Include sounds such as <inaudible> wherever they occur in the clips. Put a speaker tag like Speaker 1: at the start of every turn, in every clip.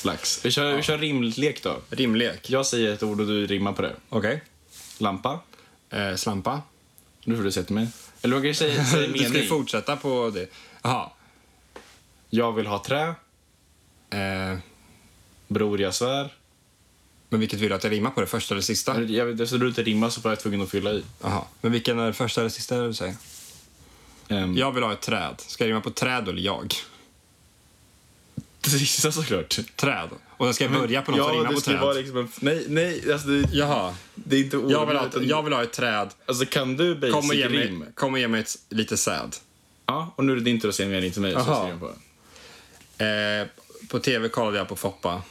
Speaker 1: slags. Vi kör, vi kör rimlek då.
Speaker 2: Rimlek.
Speaker 1: Jag säger ett ord och du rimmar på det.
Speaker 2: Okej.
Speaker 1: Lampa.
Speaker 2: Eh, slampa.
Speaker 1: Nu får du säga till mig. Eller man kan ju
Speaker 2: <laughs>
Speaker 1: säga, säga
Speaker 2: Du ska ju
Speaker 1: mening.
Speaker 2: fortsätta på det. Jaha.
Speaker 1: Jag vill ha trä.
Speaker 2: Eh,
Speaker 1: Bror, jag svär.
Speaker 2: men vilket vill du att jag rimmar på? Det första eller sista?
Speaker 1: Jag vet, eftersom du inte rimmar så var jag tvungen att fylla i.
Speaker 2: Jaha. Men vilken är det första eller sista du
Speaker 1: Mm.
Speaker 2: säger?
Speaker 1: Ehm,
Speaker 2: Jag vill ha ett träd. Ska jag rimma på träd eller jag?
Speaker 1: <laughs> Det sista såklart.
Speaker 2: Träd. Och sen ska jag börja på något som
Speaker 1: Ja,
Speaker 2: rimmar
Speaker 1: det
Speaker 2: på
Speaker 1: skulle
Speaker 2: träd.
Speaker 1: vara liksom en... Nej, nej, alltså det,
Speaker 2: Jaha.
Speaker 1: det är inte ord.
Speaker 2: Jag vill, ha ett,
Speaker 1: utan-
Speaker 2: jag vill ha ett träd.
Speaker 1: Alltså kan du basic
Speaker 2: Kom och ge mig,
Speaker 1: rim?
Speaker 2: kom och ge mig ett, lite säd.
Speaker 1: Ja, och nu är det din tur att säga en mening till mig. Så
Speaker 2: Aha.
Speaker 1: jag skriver på. den.
Speaker 2: Eh, på tv kollade jag på Foppa.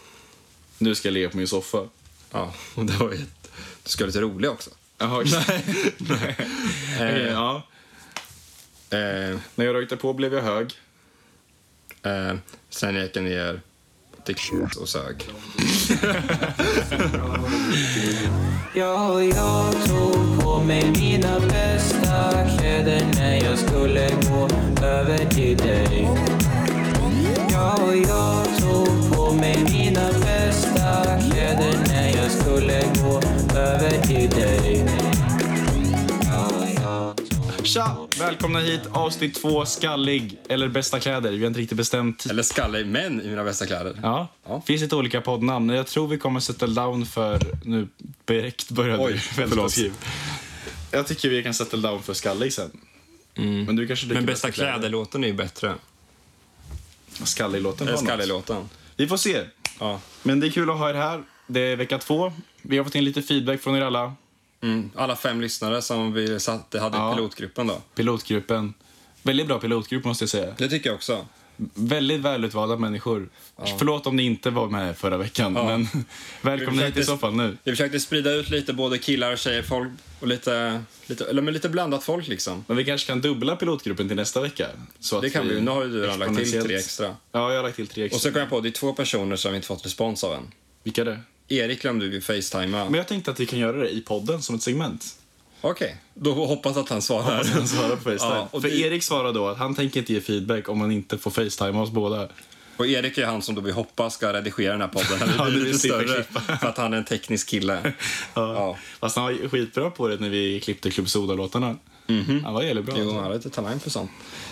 Speaker 1: Nu ska jag ligga på min soffa.
Speaker 2: Ja, <laughs> och det var ju... Du ska vara lite rolig också. <laughs>
Speaker 1: Jaha, nej. Okej, <laughs> ja.
Speaker 2: Eh,
Speaker 1: När jag rökte på blev jag hög.
Speaker 2: eh, sen gick jag ner till k- och sög.
Speaker 3: Ja, och jag tog på mig mina bästa kläder när jag skulle gå över till dig. Ja, och jag tog på mig mina bästa kläder när jag skulle gå över till dig. Ja, och jag
Speaker 1: Tja! Välkomna hit, avsnitt två, skallig. Eller bästa kläder, vi har inte riktigt bestämt.
Speaker 2: Eller skallig män i mina bästa kläder.
Speaker 1: Ja.
Speaker 2: Ja.
Speaker 1: Finns lite olika poddnamn. Jag tror vi kommer settle down för... Nu direkt började <laughs>
Speaker 2: Oj,
Speaker 1: du.
Speaker 2: förlåt.
Speaker 1: Vänta, skriv. Jag tycker vi kan settle down för skallig sen. Men du kanske tycker
Speaker 2: Mm. Men bästa kläder-låten är ju bättre
Speaker 1: Skallig-låten.
Speaker 2: än
Speaker 1: var något.
Speaker 2: skallig-låten.
Speaker 1: Vi får se.
Speaker 2: Ja.
Speaker 1: Men det är kul att ha er här. Det är vecka två. Vi har fått in lite feedback från er alla.
Speaker 2: Mm. Alla fem lyssnare som vi satt, hade
Speaker 1: Ja.
Speaker 2: i pilotgruppen då.
Speaker 1: Pilotgruppen. Väldigt bra pilotgrupp måste jag säga.
Speaker 2: Det tycker jag också.
Speaker 1: Väldigt välutvalda människor. Förlåt om ni inte var med förra veckan,
Speaker 2: Ja.
Speaker 1: men <laughs>
Speaker 2: Vi
Speaker 1: välkomna hit i
Speaker 2: försökte-
Speaker 1: så fall nu.
Speaker 2: Vi försökte sprida ut lite både killar och tjejer, folk och lite, lite, eller men lite blandat folk liksom.
Speaker 1: Men vi kanske kan dubbla pilotgruppen till nästa vecka. Så
Speaker 2: Det
Speaker 1: att
Speaker 2: kan vi ju. Nu har ju du redan lagt till
Speaker 1: exponentiellt-
Speaker 2: tre extra.
Speaker 1: Ja, jag har lagt till tre extra.
Speaker 2: Och så kom jag på att det är två personer som vi inte fått respons av än.
Speaker 1: Vilka är det?
Speaker 2: Erik glömde vi facetimea.
Speaker 1: Men
Speaker 2: Okej,
Speaker 1: jag tänkte att vi kan göra det i podden som ett <laughs> segment.
Speaker 2: då hoppas att han svarar.
Speaker 1: Han svarar på Facetime.
Speaker 2: Ja, och
Speaker 1: För
Speaker 2: det-
Speaker 1: Erik svarar då att han tänker inte ge feedback om han inte får Facetime oss båda.
Speaker 2: <laughs> Och Erik är han som då vi hoppas ska redigera den här podden.
Speaker 1: <laughs> Ja,
Speaker 2: Han
Speaker 1: det
Speaker 2: blir
Speaker 1: blir
Speaker 2: lite större
Speaker 1: superklippa.
Speaker 2: för att han är en
Speaker 1: <laughs>
Speaker 2: teknisk kille.
Speaker 1: Ja.
Speaker 2: Ja.
Speaker 1: Fast han var skitbra på det när vi klippte Club Soda-låtarna. Han var jävligt bra.
Speaker 2: Jo, han har lite talang för sånt.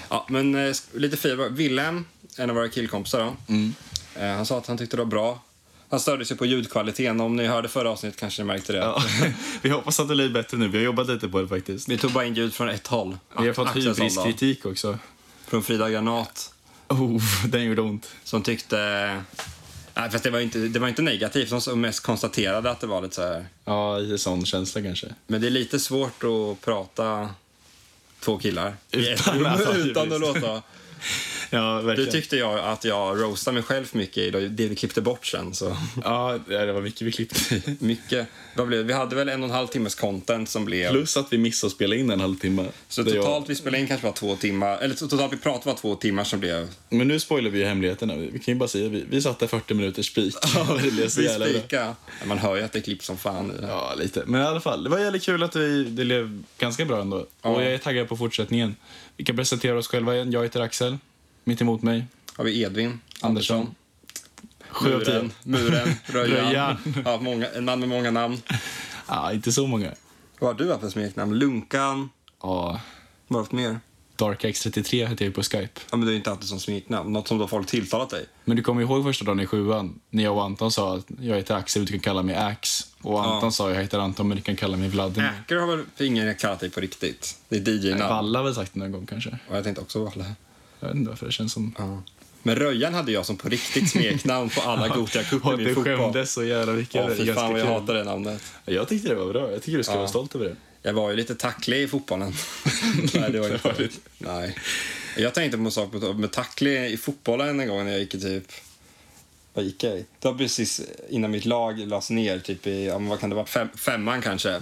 Speaker 2: Ja, men eh, sk- lite feedback. Willem, en av våra killkompisar, då,
Speaker 1: Mm.
Speaker 2: eh, han sa att han tyckte det var bra. Han störde sig på ljudkvaliteten. Om ni hörde förra avsnittet kanske ni märkte det.
Speaker 1: Ja. <laughs> Vi hoppas att det blir bättre nu. Vi har jobbat lite på det faktiskt.
Speaker 2: Vi tog bara in ljud från ett håll.
Speaker 1: Vi har fått
Speaker 2: Axels håll då.
Speaker 1: hybriskritik också.
Speaker 2: Från Frida Granat,
Speaker 1: Oh, den gjorde ont.
Speaker 2: som tyckte... eh, Nej, fast det var ju inte, det var inte negativt. De som mest konstaterade att det var lite så här...
Speaker 1: Ja, i sån känsla kanske.
Speaker 2: Men det är lite svårt att prata två killar i ett
Speaker 1: Utan
Speaker 2: <laughs> rum,
Speaker 1: att ha
Speaker 2: utan att
Speaker 1: hybris.
Speaker 2: låta...
Speaker 1: Ja, verkligen.
Speaker 2: Det tyckte jag att jag roastade mig själv för mycket i det vi klippte bort sen. Så.
Speaker 1: Ja, det var mycket <laughs> vi klippte i.
Speaker 2: Mycket. Vad blev det? Vi hade väl en och en halv timmes content som blev...
Speaker 1: Plus att vi missade att spela in en halvtimme.
Speaker 2: Så
Speaker 1: Det
Speaker 2: totalt vi spelade in kanske var två timmar, eller to- totalt vi pratade var två timmar
Speaker 1: <laughs>
Speaker 2: som blev...
Speaker 1: jag- Men nu spoilar vi ju hemligheterna. Vi kan ju bara säga vi, vi satt där 40 minuter <laughs> spik. det blev så
Speaker 2: Vi
Speaker 1: jävla bra.
Speaker 2: spika. Man hör ju att det är klipp som fan i det.
Speaker 1: Ja, lite. Men i alla fall, det var jävligt kul att vi, det blev ganska bra ändå. Och jag är taggad på fortsättningen. Vi kan presentera oss själva igen. Jag heter Axel. Mitt emot mig.
Speaker 2: Har vi Edvin
Speaker 1: Andersson.
Speaker 2: Andersson.
Speaker 1: Sju av tio.
Speaker 2: Muren,
Speaker 1: <laughs>
Speaker 2: Muren Röjan.
Speaker 1: Röjan.
Speaker 2: Ja, många, en man med många namn.
Speaker 1: Ja, inte så många.
Speaker 2: Vad har du haft för smeknamn? Lunkan.
Speaker 1: Ja,
Speaker 2: Vad har du haft mer?
Speaker 1: DarkX33 heter jag ju på Skype.
Speaker 2: Ja, men det är inte alltid som smeknamn. Något som då folk tilltalat dig.
Speaker 1: Men du kommer ihåg första dagen i sjuan när jag och Anton sa att jag heter Axel, du kan kalla mig Ax. Och Anton sa jag heter Anton, men du kan kalla mig Vladimir.
Speaker 2: Äker har väl ingen kallat dig på riktigt? Det är DJ-namn.
Speaker 1: Valla har väl sagt det någon gång kanske.
Speaker 2: Och jag tänkte också Valle.
Speaker 1: Jag vet inte varför det känns som...
Speaker 2: Ja. Men Röjan hade jag som på riktigt smeknamn på
Speaker 1: <laughs>
Speaker 2: alla
Speaker 1: Och att
Speaker 2: Gothia-cupen i
Speaker 1: du
Speaker 2: fotboll.
Speaker 1: skämdes så jävla mycket.
Speaker 2: Ja,
Speaker 1: över det.
Speaker 2: fy fan vad jag
Speaker 1: Ganska
Speaker 2: hatar det namnet.
Speaker 1: kul. jag tyckte det var bra. Jag tycker du ska
Speaker 2: Ja.
Speaker 1: vara stolt över det.
Speaker 2: Jag var ju lite tacklig i <laughs> fotbollen. Nej, det var
Speaker 1: Det var
Speaker 2: inte.
Speaker 1: lite-
Speaker 2: Nej. Jag tänkte på en sak med- med tacklig i fotbollen en gång när jag gick i typ... Vad gick jag i? Det var precis innan mitt lag lades ner, typ i, ja, men vad kan det vara, fem, femman kanske.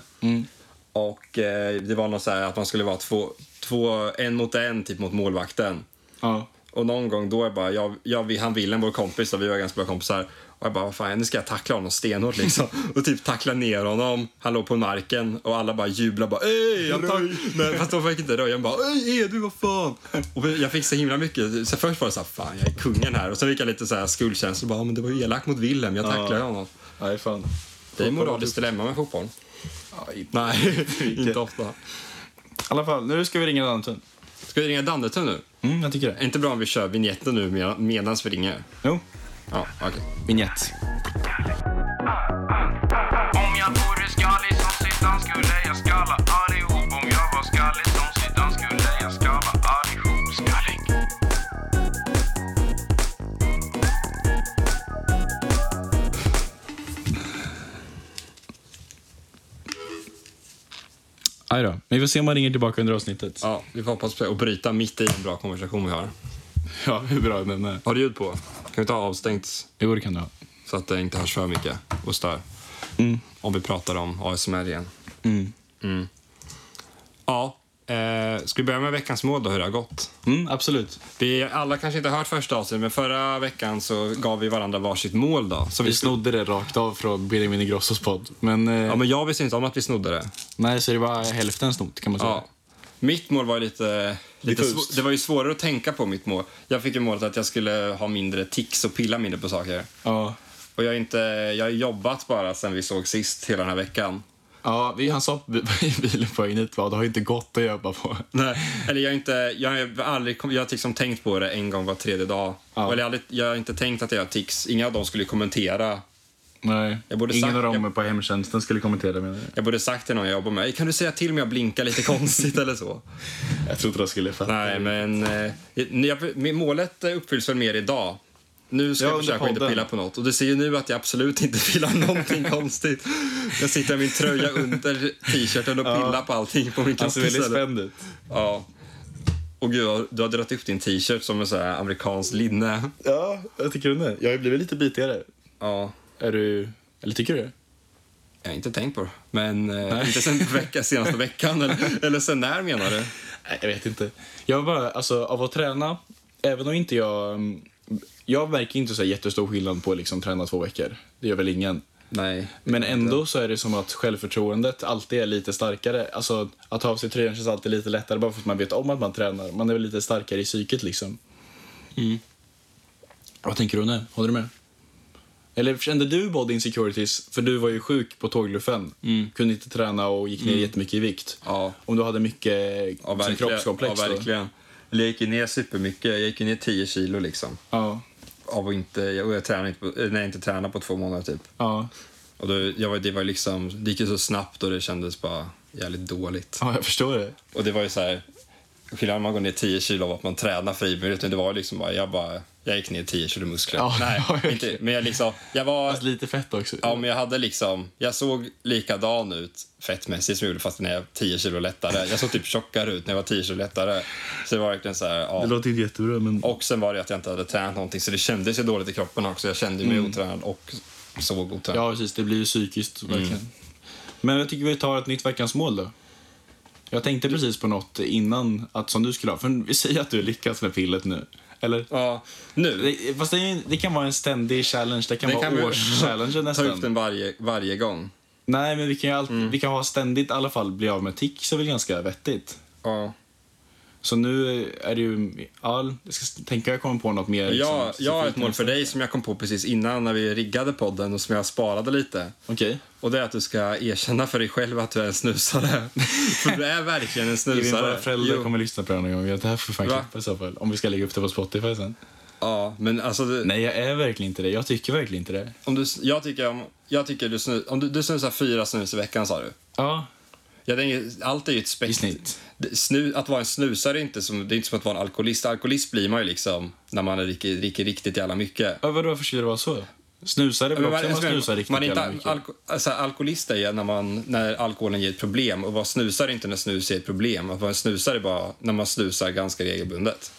Speaker 2: Och eh, det var något så här att man skulle vara två, två, en mot en typ mot målvakten.
Speaker 1: Ja.
Speaker 2: Och någon gång då är jag bara, jag, jag, vi- han Wilhelm, vår kompis, och vi var ganska bra kompisar. Och jag bara, vad fan, nu ska jag tackla honom stenhårt liksom. <laughs> Och typ tackla ner honom. Han låg på marken och alla bara jublar bara, ey, jag tack... <laughs> Nej, fast de fick inte röja. Jag bara, ey, är du, vad fan? Och jag fick så himla mycket, så först var det så här, fan, jag är kungen här. Och sen fick jag lite så här skuldkänsla, bara, "Ja, men det var ju elakt mot Wilhelm, jag tacklade honom.
Speaker 1: Nej, fan.
Speaker 2: Det är ett moraliskt dilemma med fotboll.
Speaker 1: Ja, i- <laughs>
Speaker 2: Nej,
Speaker 1: Vilket-
Speaker 2: inte ofta.
Speaker 1: I alla fall, nu ska vi ringa Danton.
Speaker 2: Ska vi ringa Dandetun nu?
Speaker 1: Mm, jag tycker
Speaker 2: Är
Speaker 1: det.
Speaker 2: inte bra om vi kör vignetten nu med, medans vi ringer?
Speaker 1: Jo.
Speaker 2: Ja, okej.
Speaker 1: Vignett.
Speaker 4: Om jag vore skallig som Zidane skulle jag skalla allihop Om jag var skallig som Zidane skulle jag skalla allihop Skallig
Speaker 1: Aj då. Men vi får se om man ringer tillbaka under avsnittet.
Speaker 2: Ja, vi får hoppas på det och bryta mitt i en bra konversation vi har.
Speaker 1: Ja, hur bra den är.
Speaker 2: Har du ljud på? Kan vi ta avstängt
Speaker 1: Jo, det kan du ha.
Speaker 2: så att det inte hörs för mycket och stör? Om vi pratar om ASMR igen. Mm. Ja, eh, ska vi börja med veckans mål då, hur det har gått?
Speaker 1: Mm, absolut.
Speaker 2: Vi alla kanske inte har hört första avsnittet, men förra veckan så gav vi varandra varsitt mål då. Så vi
Speaker 1: Vi snodde det rakt av från Benjamin Ingrossos podd. Men, eh,
Speaker 2: Ja, men jag visste inte om att vi snodde det.
Speaker 1: nej, så det var hälften snott kan man säga.
Speaker 2: Ja. Mitt mål var ju lite... lite
Speaker 1: Diffust.
Speaker 2: sv- det var ju svårare att tänka på mitt mål. Jag fick ju målet att jag skulle ha mindre tics och pilla mindre på saker.
Speaker 1: Ja.
Speaker 2: Och jag, är inte, jag har jobbat bara sen vi såg sist hela den här veckan.
Speaker 1: Ja, vi, <laughs> han sa i bilen på vägen hit, va, det har inte gått att jobba på.
Speaker 2: Nej. Eller jag, har inte, jag, har aldrig, kom- jag har liksom tänkt på det en gång var tredje dag.
Speaker 1: Ja.
Speaker 2: Eller jag, har aldrig, jag har inte tänkt att jag har tics. Inga av dem skulle kommentera.
Speaker 1: Nej,
Speaker 2: Jag borde
Speaker 1: ingen
Speaker 2: sagt-
Speaker 1: av dem
Speaker 2: jag-
Speaker 1: på hemtjänsten skulle kommentera med det.
Speaker 2: Jag borde sagt till någon jag jobbar med, kan du säga till om jag blinkar <laughs> lite konstigt eller så?
Speaker 1: Jag trodde de skulle fatta.
Speaker 2: Nej, men eh, jag, min- målet eh, uppfylls väl mer idag. Nu ska
Speaker 1: Ja,
Speaker 2: jag
Speaker 1: under
Speaker 2: försöka att inte
Speaker 1: podden.
Speaker 2: pilla på något. Och du ser ju nu att jag absolut inte pillar <laughs> någonting konstigt. Jag sitter med min tröja under t-shirten och pillar på allting på min
Speaker 1: Han
Speaker 2: kropp
Speaker 1: ser väldigt
Speaker 2: istället.
Speaker 1: spänd ut.
Speaker 2: Ja. Och gud, vad- du har dragit upp din t-shirt som en sån här amerikansk linne.
Speaker 1: Ja, jag tycker du det? Jag har blivit lite bitigare.
Speaker 2: Ja,
Speaker 1: Är du... Eller tycker du det?
Speaker 2: jag har inte tänkt på det. Men eh, inte sen <laughs> vecka, senaste veckan eller, eller sen när menar du?
Speaker 1: Nej, jag vet inte. Jag bara, alltså av att träna, även om inte jag... mm, Jag märker inte så här jättestor skillnad på att liksom träna två veckor. Det gör väl ingen.
Speaker 2: Nej.
Speaker 1: Men ändå så är det som att självförtroendet alltid är lite starkare. Alltså att ta av sig tröjan känns alltid lite lättare bara för att man vet om att man tränar. Man är väl lite starkare i psyket liksom.
Speaker 2: Mm.
Speaker 1: Vad tänker du nu? Håller du med? Eller kände du body insecurities? För du var ju sjuk på tågluffen. Kunde inte träna och gick ner jättemycket i vikt.
Speaker 2: Mm. Ja.
Speaker 1: Om du hade mycket
Speaker 2: Ja,
Speaker 1: liksom,
Speaker 2: verkligen. Ja,
Speaker 1: kroppskomplex. då.
Speaker 2: verkligen. Eller Jag gick ju ner supermycket. Jag gick ju ner 10 kilo liksom.
Speaker 1: Ja.
Speaker 2: av att inte, jag, jag tränade inte, på, eh, nej, inte tränade på två månader typ.
Speaker 1: Ja.
Speaker 2: Och då, jag var, det var ju liksom, det gick ju så snabbt och det kändes bara jävligt dåligt.
Speaker 1: ja, jag förstår det.
Speaker 2: Och det var ju så här, skillnaden man går ner 10 kilo av att man tränar frivilligt, utan det var ju liksom bara, jag bara, jag gick ner 10 kilo muskler.
Speaker 1: Ja, <laughs> ja,
Speaker 2: nej,
Speaker 1: verkligen.
Speaker 2: inte, men jag liksom, jag var,
Speaker 1: Fast lite fett också.
Speaker 2: ja men jag hade liksom, jag såg likadan ut fettmässigt som jag gjorde fast när jag var 10 kilo lättare. Jag såg typ tjockare ut när jag var 10 kilo lättare. Så det var verkligen så här, ja.
Speaker 1: Det låter inte jättebra men...
Speaker 2: Och sen var det att jag inte hade tränat någonting så det kändes ju dåligt i kroppen också. Jag kände mig otränad och såg otränad.
Speaker 1: Mm. Ja, precis. Det blir ju psykiskt
Speaker 2: Mm.
Speaker 1: verkligen. Men jag tycker vi tar ett nytt veckans mål då. Jag tänkte precis på något innan att som du skulle ha. För vi säger att du lyckas med pillet nu. Eller?
Speaker 2: Ja. Nu,
Speaker 1: Det, fast det, är ju- det kan vara en ständig challenge. Det kan
Speaker 2: Det
Speaker 1: vara
Speaker 2: kan vi-
Speaker 1: års-challenge
Speaker 2: <laughs> ta upp
Speaker 1: nästan.
Speaker 2: den varje, varje gång.
Speaker 1: Nej, men vi kan ju alltid,
Speaker 2: Mm.
Speaker 1: vi kan ha ständigt i alla fall bli av med tics är väl ganska vettigt.
Speaker 2: Ja.
Speaker 1: Så nu är det ju... Ja, jag ska tänka jag kommer på något mer. liksom,
Speaker 2: Jag, jag har ett
Speaker 1: specifikt.
Speaker 2: mål för dig som jag kom på precis innan när vi riggade podden och som jag sparade lite.
Speaker 1: Okej.
Speaker 2: Och det är att du ska erkänna för dig själv att du är en snusare. <laughs> för du är verkligen en
Speaker 1: Okay.
Speaker 2: snusare.
Speaker 1: Våra föräldrar
Speaker 2: Jo.
Speaker 1: kommer lyssna på det här någon gång. Det här får vi fan
Speaker 2: Va?
Speaker 1: klippa i så fall. Om vi ska lägga upp det på Spotify sen.
Speaker 2: Ja, men alltså, du,
Speaker 1: Nej, jag är verkligen inte det. Jag tycker verkligen inte det.
Speaker 2: om du, jag tycker, om, jag tycker du, snus, om du, du snusar fyra snus i veckan sa du.
Speaker 1: Ja.
Speaker 2: Jag tänker, allt är ju ett
Speaker 1: I
Speaker 2: spektrum.
Speaker 1: snitt.
Speaker 2: Det- Snu, att vara en snusare är inte som, det är inte som att vara en alkoholist. Alkoholist blir man ju liksom när man dricker, dricker riktigt jävla mycket.
Speaker 1: Ja, vadå, varför skulle det vara så? Snusare vill
Speaker 2: Men
Speaker 1: också man
Speaker 2: man- man-
Speaker 1: snusar riktigt
Speaker 2: man är inte,
Speaker 1: jävla mycket.
Speaker 2: alko, alltså, alkoholist är ju när, man, när alkoholen ger ett problem och vara snusare är inte när snus är ett problem. Att vara en snusare är bara när man snusar ganska regelbundet.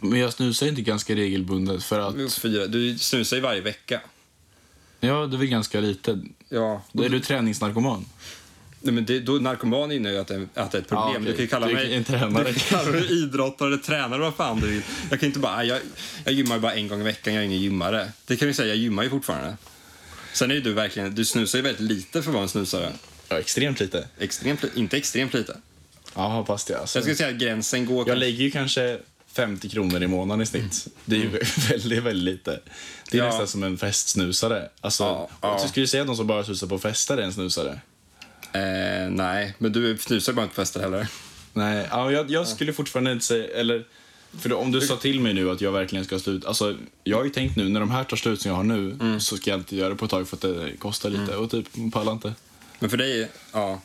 Speaker 1: Men jag snusar inte ganska regelbundet för att...
Speaker 2: Fyra, du snusar ju varje vecka.
Speaker 1: Ja, du är väl ganska lite.
Speaker 2: Ja.
Speaker 1: Då är du träningsnarkoman.
Speaker 2: Nej, men det, då, narkoman innebär ju att det, att det är ett problem.
Speaker 1: Ja, okej.
Speaker 2: Du kan ju kalla
Speaker 1: Du är
Speaker 2: mig
Speaker 1: en tränare.
Speaker 2: Du kan kalla mig idrottare, tränare, vad fan du vill. Jag kan inte bara, "Nej, jag, jag gymmar ju bara en gång i veckan, jag är ingen gymmare. Det kan vi säga, jag gymmar ju fortfarande. Sen är ju du verkligen, du snusar ju väldigt lite för att vara en snusare.
Speaker 1: Ja, extremt lite.
Speaker 2: Extremt, li- inte extremt lite.
Speaker 1: Ja, fast det alltså.
Speaker 2: Jag skulle säga att gränsen går...
Speaker 1: Jag lägger ju kanske 50 kronor i månaden i snitt. Det är ju <laughs> väldigt, väldigt lite. Det är
Speaker 2: Ja.
Speaker 1: nästan som en festsnusare. Alltså,
Speaker 2: Ja, ja.
Speaker 1: Du skulle ju säga att de som bara snusar på fester är en snusare.
Speaker 2: Eh, nej, men du snusar ju bara inte på fester heller.
Speaker 1: Nej, ja, jag, jag skulle fortfarande inte säga... Eller, för om du sa till mig nu att jag verkligen ska sluta. Alltså, jag har ju tänkt nu, när de här tar slut som jag har nu, så ska jag inte göra det på ett tag för att det kostar lite. Och typ, man pallar inte.
Speaker 2: Men för dig, ja.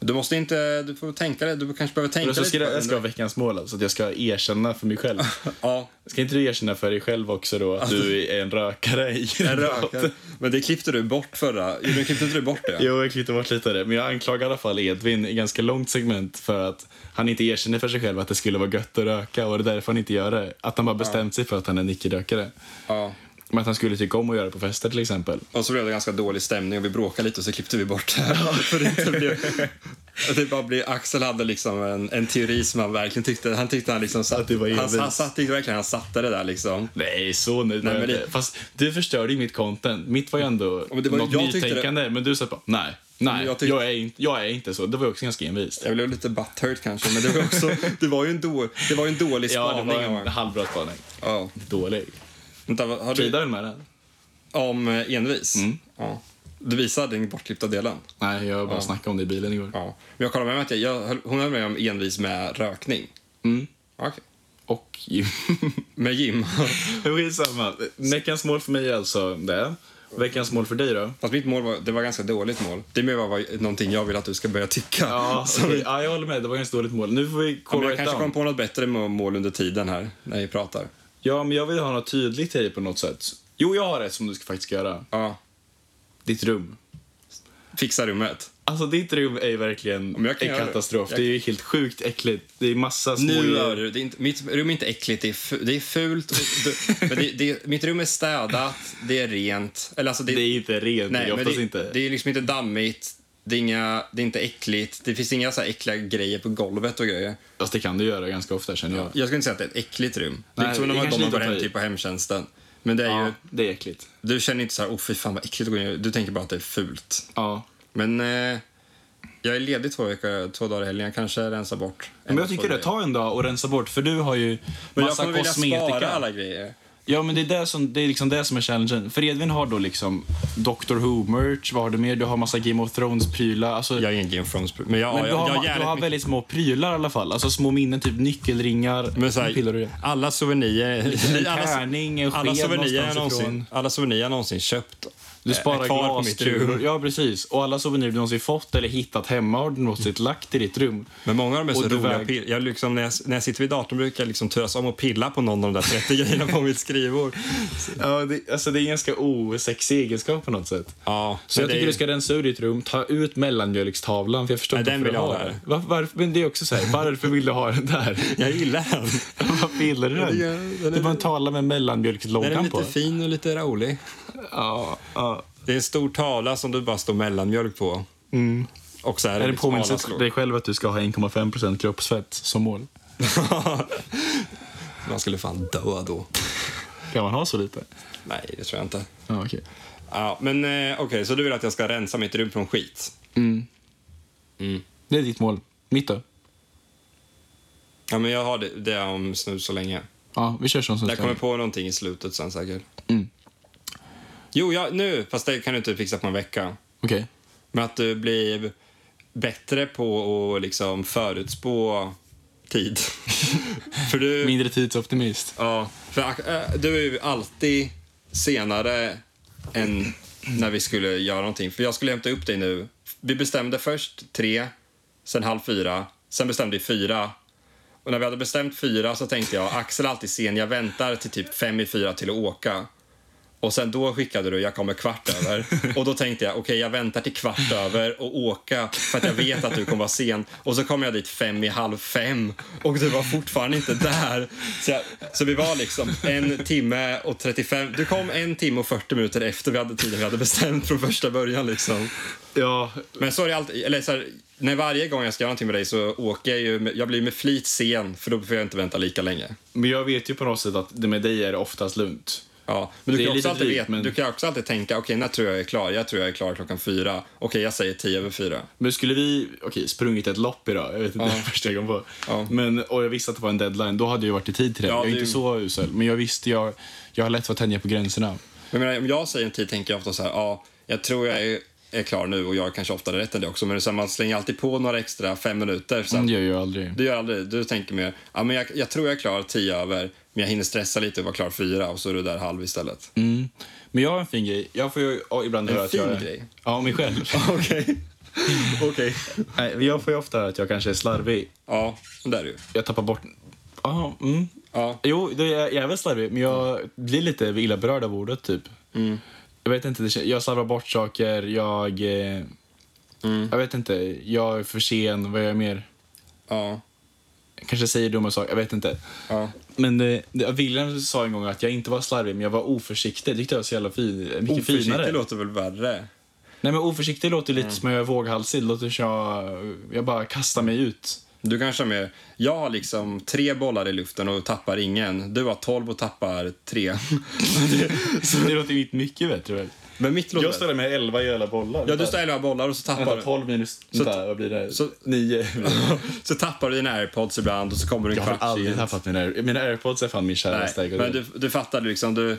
Speaker 2: Du måste inte, du får tänka dig, du kanske behöver tänka
Speaker 1: Eller så ska
Speaker 2: lite.
Speaker 1: jag,
Speaker 2: på
Speaker 1: jag ska
Speaker 2: det.
Speaker 1: ha veckans mål, alltså, att jag ska erkänna för mig <laughs> själv.
Speaker 2: Ja,
Speaker 1: Ska inte du erkänna för dig själv också då att du är en rökare i
Speaker 2: en rökare.
Speaker 1: idrotten?
Speaker 2: Men det klippte du bort förra, jo, men klippte inte du bort det?
Speaker 1: <laughs> Jo, jag klippte bort lite av det. Men jag anklagar i alla fall Edvin i ganska långt segment för att han inte erkänner för sig själv att det skulle vara gött att röka och det är därför han inte gör det. Att han bara bestämt sig för att han är en icke-rökare.
Speaker 2: Ja.
Speaker 1: Men att han skulle tycka om att göra det på fester till exempel.
Speaker 2: Och så blev det ganska dålig stämning och vi bråkade lite och så klippte vi bort det. här. <laughs> För det, inte blev, att det bara blev, Axel hade liksom en, en teori som han verkligen tyckte, han tyckte han liksom satt,
Speaker 1: Att det var
Speaker 2: han,
Speaker 1: envis.
Speaker 2: han, satt, tyckte verkligen han satte det där liksom.
Speaker 1: Nej, så nöjd
Speaker 2: Nej,
Speaker 1: var jag
Speaker 2: men det-
Speaker 1: inte. Fast du förstörde ju mitt content. Mitt var ju ändå
Speaker 2: men det var-
Speaker 1: något
Speaker 2: jag tyckte det-
Speaker 1: nytänkande. Men du sa bara, nej, nej,
Speaker 2: Men jag
Speaker 1: jag,
Speaker 2: tyckte-
Speaker 1: är inte, jag är inte så. Det var ju också ganska envist.
Speaker 2: Jag blev lite butthurt kanske, men det var, också, det var, ju, en då, det var ju en dålig
Speaker 1: Ja, det
Speaker 2: spaning. Typ-
Speaker 1: var en
Speaker 2: Ja,
Speaker 1: halvbra spaning.
Speaker 2: ja.
Speaker 1: Dålig.
Speaker 2: Vänta, vad- har du,
Speaker 1: Frida Mm. höll med den.
Speaker 2: Om eh, envis? Ja. Du visade den bortklippta delen?
Speaker 1: Nej, jag bara snackade om det i bilen igår.
Speaker 2: Ja. Men jag kollade med mig att jag, jag, höll- hon höll med om envis med rökning.
Speaker 1: Mm.
Speaker 2: Okej. <laughs>
Speaker 1: Och
Speaker 2: Med gym.
Speaker 1: <laughs>
Speaker 2: <laughs>
Speaker 1: Skitsamma. Veckans mål för mig är alltså det. Veckans mål för dig då?
Speaker 2: Fast mitt mål var, det var ganska dåligt mål. Det mer var vad- någonting jag vill att du ska börja tycka. <laughs>
Speaker 1: Ja,
Speaker 2: Så-
Speaker 1: okej. ja, jag håller med. Det var ganska dåligt mål. Nu får vi
Speaker 2: Ja, men
Speaker 1: kolla
Speaker 2: jag kanske kom på något bättre må- mål under tiden här, när vi pratar.
Speaker 1: Ja, men jag vill ha något tydligt till dig på något sätt. Jo, jag har ett som du ska faktiskt göra.
Speaker 2: Ja.
Speaker 1: Ditt rum.
Speaker 2: Fixa rummet.
Speaker 1: Alltså ditt rum är ju verkligen
Speaker 2: men jag kan
Speaker 1: en
Speaker 2: göra-
Speaker 1: katastrof.
Speaker 2: jag-
Speaker 1: Det är ju helt sjukt äckligt. Det är massa små...
Speaker 2: Nu är det, det är inte, mitt rum är inte äckligt, det är, fu, det är fult. Och, du, <laughs> men det, det, mitt rum är städat, det är rent. Eller alltså
Speaker 1: Det är inte rent. det
Speaker 2: Nej,
Speaker 1: är
Speaker 2: men
Speaker 1: oftast
Speaker 2: det,
Speaker 1: inte.
Speaker 2: det är liksom inte dammigt. Det är, inga, det är inte äckligt. Det finns inga så här äckliga grejer på golvet och grejer.
Speaker 1: Fast det kan du göra ganska ofta känner jag.
Speaker 2: Jag skulle inte säga att det är ett äckligt rum. det är
Speaker 1: Nej,
Speaker 2: inte som när
Speaker 1: det
Speaker 2: man
Speaker 1: kanske
Speaker 2: går man
Speaker 1: inte
Speaker 2: går
Speaker 1: tar
Speaker 2: hem
Speaker 1: i.
Speaker 2: till på hemtjänsten. Men det är ju,
Speaker 1: Ja, det är äckligt.
Speaker 2: du känner inte så här, åh fy fan vad äckligt att gå in. i." Du tänker bara att det är fult.
Speaker 1: Ja.
Speaker 2: Men eh, jag är ledig två, veckor, två dagar i helgen. Jag kanske rensar bort. en
Speaker 1: Men jag
Speaker 2: eller två
Speaker 1: tycker det,
Speaker 2: grejer.
Speaker 1: ta en dag och rensa bort för du har ju
Speaker 2: Men jag
Speaker 1: massa
Speaker 2: kommer vilja
Speaker 1: kosmetika.
Speaker 2: spara alla grejer.
Speaker 1: Ja, men det är det som, det är liksom det som är challengen. För Edvin har då liksom Doctor Who-merch, vad har du mer? Du har massa Game of Thrones-prylar. Alltså,
Speaker 2: Jag är ingen Game of Thrones, men jag,
Speaker 1: men
Speaker 2: jag,
Speaker 1: du har,
Speaker 2: jag,
Speaker 1: ma-
Speaker 2: jag,
Speaker 1: du har väldigt små prylar i alla fall. Alltså små minnen, typ nyckelringar,
Speaker 2: men så
Speaker 1: piller och det.
Speaker 2: här, alla souvenirer...
Speaker 1: En
Speaker 2: <laughs> alla-
Speaker 1: tärning, en
Speaker 2: Alla
Speaker 1: sked
Speaker 2: souvenirer, jag
Speaker 1: någonstans
Speaker 2: någonsin,
Speaker 1: ifrån.
Speaker 2: alla souvenirer jag någonsin köpt
Speaker 1: Du
Speaker 2: är- är
Speaker 1: sparar
Speaker 2: Eh, kvar på mitt
Speaker 1: glasdruvor.
Speaker 2: rum.
Speaker 1: Ja, precis. Och alla souvenirer du någonsin fått eller hittat hemma har du någonsin lagt i ditt rum.
Speaker 2: Men många av dem är så
Speaker 1: Och du
Speaker 2: roliga
Speaker 1: väg-
Speaker 2: pill- jag liksom, när, jag, när jag sitter vid datorn brukar jag liksom turas om och pilla på någon av de där 30 grejerna på mitt skrivbord.
Speaker 1: Ja, det, alltså det är en ganska osexig egenskap på något sätt.
Speaker 2: Ja,
Speaker 1: Så jag
Speaker 2: men det är
Speaker 1: tycker
Speaker 2: ju-
Speaker 1: du ska rensa ur ditt rum, ta ut mellanmjölkstavlan för jag förstår
Speaker 2: Nej,
Speaker 1: inte
Speaker 2: den
Speaker 1: varför
Speaker 2: vill
Speaker 1: du
Speaker 2: jag
Speaker 1: har
Speaker 2: ha där.
Speaker 1: den. Varför, varför, men det är också så här, varför vill du ha den där?
Speaker 2: <laughs> Jag gillar den.
Speaker 1: Varför gillar du den?
Speaker 2: Den är- den är-
Speaker 1: Det var en tavla med
Speaker 2: Den är
Speaker 1: mellanmjölksloggan på.
Speaker 2: lite fin och lite rolig.
Speaker 1: Ja, ja.
Speaker 2: Det är en stor tavla som du bara står mellanmjölk på. Och så är
Speaker 1: Mm. Är
Speaker 2: det, liksom
Speaker 1: det
Speaker 2: lite smala
Speaker 1: påminnelse till
Speaker 2: stråk.
Speaker 1: dig själv att du ska ha 1,5% kroppsfett som mål?
Speaker 2: <laughs> Man skulle fan dö då.
Speaker 1: Kan man ha så lite?
Speaker 2: Nej, det tror jag inte.
Speaker 1: Ja, okej.
Speaker 2: Ja, men eh, okej, så du vill att jag ska rensa mitt rum från skit?
Speaker 1: Det är ditt mål. Mitt då?
Speaker 2: Ja, men jag har det, det om snus så länge.
Speaker 1: Ja, vi kör sån som
Speaker 2: Jag kommer på någonting i slutet sen säkert. Jo, ja, nu, fast det kan du inte fixa på en vecka.
Speaker 1: Okej.
Speaker 2: Men att du blir bättre på att liksom förutspå tid. <laughs> för du,
Speaker 1: Mindre tidsoptimist.
Speaker 2: ja, för, äh, du är ju alltid senare än när vi skulle göra någonting. För jag skulle hämta upp dig nu. Vi bestämde först tre, sen halv fyra, sen bestämde vi fyra. Och när vi hade bestämt fyra så tänkte jag, Axel är alltid sen, jag väntar till typ fem i fyra till att åka. Och sen då skickade du jag kommer kvart över. Och då tänkte jag okej jag väntar till kvart över och åka för att jag vet att du kommer vara sen. Och så kom jag dit fem i halv fem och du var fortfarande inte där. Så, jag, så vi var liksom en timme och 35. Du kom en timme och 40 minuter efter vi hade tiden vi hade bestämt från första början liksom.
Speaker 1: Ja,
Speaker 2: Men så är det alltid, eller så här, när varje gång jag ska göra någonting med dig så åker jag ju, med- jag blir med flit sen för då får jag inte vänta lika länge.
Speaker 1: men jag vet ju på något sätt att det med dig är det oftast lugnt.
Speaker 2: Ja, men du
Speaker 1: Det är
Speaker 2: kan, också
Speaker 1: lite
Speaker 2: alltid
Speaker 1: drygt,
Speaker 2: veta,
Speaker 1: men-
Speaker 2: du kan också alltid tänka, okej när tror jag jag är klar? Jag tror jag är klar klockan fyra. Okej, jag säger tio över fyra.
Speaker 1: Men skulle vi, okej, sprungit ett lopp idag, jag vet inte,
Speaker 2: Ja.
Speaker 1: första gången på.
Speaker 2: Ja.
Speaker 1: Men, och jag visste att det var en deadline, då hade jag ju varit i tid till det.
Speaker 2: Ja,
Speaker 1: jag är
Speaker 2: det är
Speaker 1: inte
Speaker 2: ju-
Speaker 1: så usel, men jag visste, jag, jag har lätt för att tänja på gränserna.
Speaker 2: Men jag menar, om jag säger en tid tänker jag ofta så här, ja, jag tror jag är, är klar nu och jag har kanske oftare rätt än det också. Men det är så här, man slänger alltid på några extra fem minuter. Så
Speaker 1: Det
Speaker 2: att,
Speaker 1: gör jag ju aldrig.
Speaker 2: Du gör aldrig, du tänker mer, ja, men jag, jag tror jag är klar tio över, men jag hinner stressa lite och vara klar fyra och så är du där halv istället.
Speaker 1: Mm. Men jag har en fin grej. Jag får ju ja, ibland
Speaker 2: En
Speaker 1: höra att
Speaker 2: fin
Speaker 1: jag...
Speaker 2: grej?
Speaker 1: Ja, mig själv.
Speaker 2: <laughs> Okej. Okej.
Speaker 1: Nej, men jag får ju ofta höra att jag kanske är slarvig.
Speaker 2: Ja, där är du.
Speaker 1: Jag tappar bort... Ja, mm.
Speaker 2: Ja.
Speaker 1: Jo, det är, jag är väl slarvig, men jag blir lite illa berörd av ordet typ.
Speaker 2: Mm.
Speaker 1: Jag vet inte, det kän- jag slarvar bort saker, jag... Eh,
Speaker 2: Mm.
Speaker 1: Jag vet inte, jag är för sen, vad gör jag mer?
Speaker 2: Ja.
Speaker 1: Jag kanske säger dumma saker, jag vet inte.
Speaker 2: Ja.
Speaker 1: Men eh, det, William sa en gång att jag inte var slarvig, men jag var oförsiktig. Det tyckte jag var så jävla fin, mycket finare.
Speaker 2: Oförsiktig låter Mm. väl värre?
Speaker 1: Nej men oförsiktig låter ju lite som jag är våghalsig. Det låter som jag, jag bara kastar mig
Speaker 2: <laughs>
Speaker 1: ut.
Speaker 2: Du kanske har mer, jag har liksom tre bollar i luften och tappar ingen. Du har tolv och tappar
Speaker 1: <laughs>
Speaker 2: tre.
Speaker 1: Så det låter ju inte mycket bättre väl?
Speaker 2: Men mitt låter...
Speaker 1: med 11 i alla bollar.
Speaker 2: Ja, du står elva bollar och så tappar, du-
Speaker 1: 12 minus...
Speaker 2: vänta,
Speaker 1: vad blir det?
Speaker 2: så-
Speaker 1: 9.
Speaker 2: <laughs> så tappar du dina airpods ibland och så kommer du
Speaker 1: <laughs>
Speaker 2: en
Speaker 1: Jag har
Speaker 2: kvart
Speaker 1: aldrig
Speaker 2: sent.
Speaker 1: tappat mina, air- mina airpods. är fan min käraste
Speaker 2: Nej,
Speaker 1: ägodel.
Speaker 2: men du, du fattar liksom, du,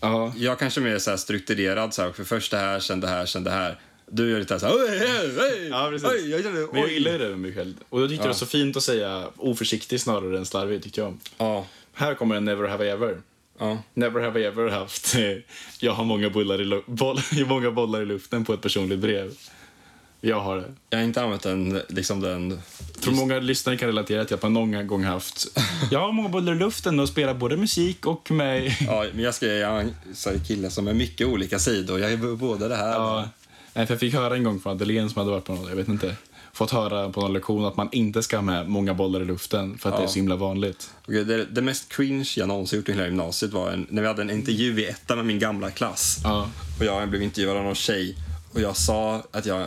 Speaker 1: Ja.
Speaker 2: jag kanske är mer så här strukturerad så här, för först det här, sen det här, sen det här. Du gör lite så här, oj, oj, oj,
Speaker 1: Ja, precis.
Speaker 2: oj, jag kände,
Speaker 1: Men jag
Speaker 2: oj.
Speaker 1: gillar ju det med mig själv. Och jag tyckte det var så fint att säga oförsiktig snarare än slarvig tyckte jag.
Speaker 2: Ja,
Speaker 1: Här kommer en never have I ever.
Speaker 2: ja.
Speaker 1: Never have I ever haft <laughs> eh, jag har många bollar i, lu- boll, <laughs> många bollar i luften på ett personligt brev. Jag har det.
Speaker 2: Jag har inte använt den, liksom den,
Speaker 1: tror många lyssnare kan relatera till att man någon gång haft...
Speaker 2: <laughs>
Speaker 1: Jag har många bollar i luften och spelar både musik och med...
Speaker 2: ja, men jag ska ge en så här kille som är mycket olika sidor. Jag är b- både det här.
Speaker 1: Ja, nej, för jag fick höra en gång från Adelén som hade varit på någon, jag vet inte, fått höra på någon lektion att man inte ska ha med många bollar i luften för att det är så himla vanligt.
Speaker 2: Okej, det, det mest cringe jag någonsin gjort i hela gymnasiet var en, när vi hade en intervju i ettan med min gamla klass.
Speaker 1: Ja.
Speaker 2: Och jag blev intervjuad av någon tjej och jag sa att jag...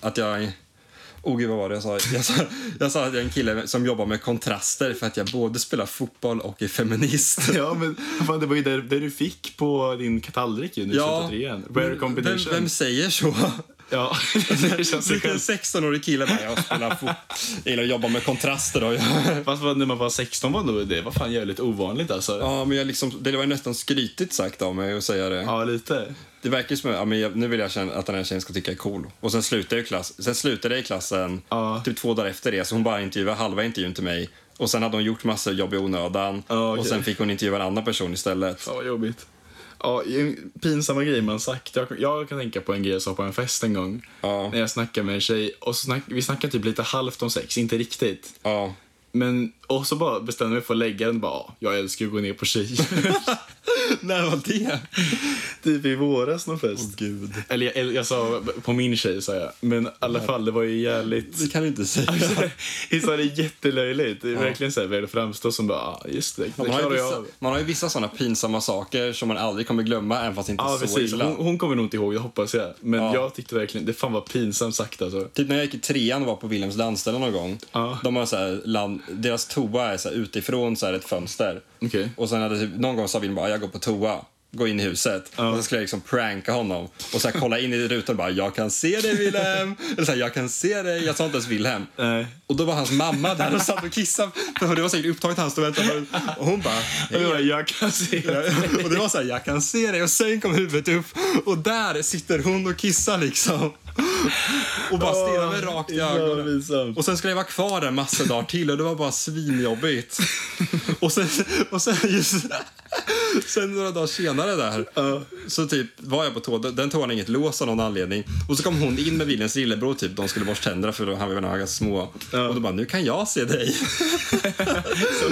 Speaker 2: Att jag oh gud, vad var det jag sa? Jag sa, jag sa att jag är en kille som jobbar med kontraster för att jag både spelar fotboll och är feminist. <laughs>
Speaker 1: Ja, men fan, det var ju där, där du fick på din tallrik ju nu ja, trean. Rare
Speaker 2: men
Speaker 1: combination.
Speaker 2: Vem, vem säger så?
Speaker 1: Ja, <laughs> det känns ju
Speaker 2: Vilken
Speaker 1: skönt.
Speaker 2: 16-årig kille bara, jag spelar fotboll, jag gillar att jobba med kontraster. Och jag,
Speaker 1: Fast vad- när man var 16 var nog det var fan jävligt ovanligt alltså. Ja,
Speaker 2: <laughs> ja, men jag liksom, det var ju nästan skrytigt sagt av mig att säga det.
Speaker 1: lite.
Speaker 2: Det verkar ju som ja, men jag, nu vill jag känna att den här tjejen ska tycka är cool. Och sen slutade jag i, klass, sen slutade jag i klassen
Speaker 1: Ja.
Speaker 2: typ två dagar efter det. Så hon bara intervjuade halva intervjun till mig. Och sen hade hon gjort massa jobb i onödan.
Speaker 1: Ja, okej.
Speaker 2: Och sen fick hon intervjua en annan person istället.
Speaker 1: Ja, vad jobbigt. Ja, en- pinsamma grejer man sagt. Jag, jag kan tänka på en grej jag sa på en fest en gång.
Speaker 2: Ja.
Speaker 1: När jag snackade med en tjej. Och så snack, vi snackade typ lite halvt om sex, inte riktigt.
Speaker 2: Ja.
Speaker 1: Men, och så bara bestämde vi för att lägga den. Bara, "Ja, jag älskar att gå ner på tjejer.
Speaker 2: När var det?
Speaker 1: <laughs> typ i våras någon fest.
Speaker 2: Gud.
Speaker 1: Eller jag, jag sa på min tjej, sa jag. Men i alla fall, det var ju jävligt... <laughs>
Speaker 2: Det kan du inte säga.
Speaker 1: Vi sa det jättelöjligt. Det är verkligen så här, vi hade framstå som bara, ah, just det, det
Speaker 2: Man har, ju
Speaker 1: klarar jag
Speaker 2: vissa,
Speaker 1: av.
Speaker 2: man har ju vissa sådana pinsamma saker som man aldrig kommer glömma, även fast det inte är
Speaker 1: Ja,
Speaker 2: så
Speaker 1: precis.
Speaker 2: illa.
Speaker 1: Hon, hon kommer nog inte ihåg, det hoppas jag. Men
Speaker 2: Ja.
Speaker 1: jag tyckte verkligen, det fan var pinsamt sagt alltså.
Speaker 2: Typ när jag gick i trean och var på Wilhelms landställe någon gång.
Speaker 1: Ja.
Speaker 2: De har så här land, deras toa är så här utifrån så här ett fönster.
Speaker 1: Okej.
Speaker 2: Och sen hade typ, någon gång sa Wilhelm bara, jag går på toa. Gå in i huset. Och så skulle jag liksom pranka honom. Och så här kolla in i rutan och bara, jag kan se dig Wilhelm. <laughs> Eller så här, jag kan se dig. Jag sa inte ens Wilhelm.
Speaker 1: Nej.
Speaker 2: Och då var hans mamma där och satt och kissade. För det var säkert upptaget, han stod och väntade. Och hon bara,
Speaker 1: Och jag bara, jag kan se <laughs> det.
Speaker 2: <laughs> och det var så här, jag kan se dig. Och sen kom huvudet upp och där sitter hon och kissar liksom. Och bara stirrar mig rakt i ögonen. <laughs> Och sen skulle jag vara kvar där
Speaker 1: <laughs>
Speaker 2: massa dagar till och det var bara svinjobbigt. Och sen, och sen just... Sen några dagar senare där, så typ var jag på tå. Den tån hade inget lås av någon anledning. Och så kom hon in med Viljens lillebror, typ. De skulle borsta tänderna för han var väl ganska små. Och då bara, nu kan jag
Speaker 1: <laughs>
Speaker 2: se dig.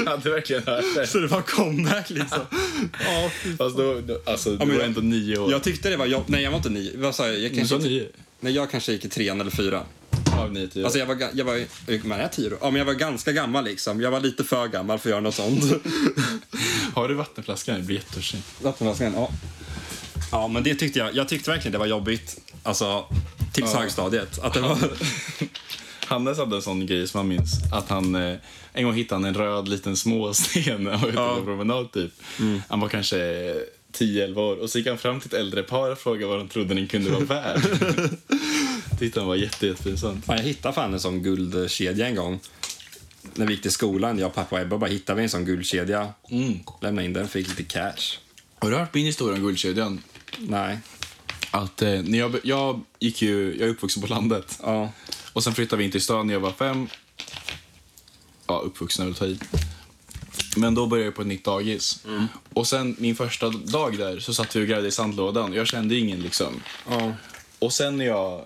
Speaker 1: Jag hade verkligen hört det.
Speaker 2: Så det var comeback liksom. Ja,
Speaker 1: Fast då, då- alltså, du
Speaker 2: men
Speaker 1: var
Speaker 2: jag-
Speaker 1: ändå nio år.
Speaker 2: Jag tyckte det var jobb... Nej, jag var inte nio. Vad sa jag? jag
Speaker 1: du
Speaker 2: kanske
Speaker 1: sa
Speaker 2: inte-
Speaker 1: nio?
Speaker 2: Nej, jag kanske gick i trean eller fyran.
Speaker 1: Av nio, tio.
Speaker 2: Alltså jag var, ga- jag var, man är tio då. Ja, men jag var ganska gammal liksom. Jag var lite för gammal för att göra något sånt.
Speaker 1: Har du vattenflaskan? Det blir jättetörstig.
Speaker 2: Vattenflaskan, ja. Ja, men det tyckte jag. Jag tyckte verkligen det var jobbigt. Alltså, tills högstadiet. Att det var...
Speaker 1: <laughs> Hannes hade en sån grej som han minns. Att han, eh, en gång hittade han en röd liten småsten <laughs> när han var ute
Speaker 2: Ja.
Speaker 1: på promenad. Typ. Han var kanske 10-11 år och så gick han fram till ett äldre par och frågade vad de trodde den kunde <laughs> vara värd. Tyckte han var jätte, jättepinsamt.
Speaker 2: Fan, jag hittade fan en sån guldkedja en gång. När vi gick till skolan, jag, pappa och Ebba, bara hittade vi en sån guldkedja. Lämnade in den, fick lite cash.
Speaker 1: Har du hört min historia om guldkedjan?
Speaker 2: Nej.
Speaker 1: Att, eh, när jag, jag, gick ju, jag är uppvuxen på landet.
Speaker 2: Ja.
Speaker 1: Och sen flyttade vi in till stan när jag var fem. Ja, uppvuxen är väl att ta i. Men då började jag på ett nytt dagis. Och sen min första dag där så satt vi och grävde i sandlådan. Jag kände ingen liksom.
Speaker 2: Ja.
Speaker 1: Och sen när jag,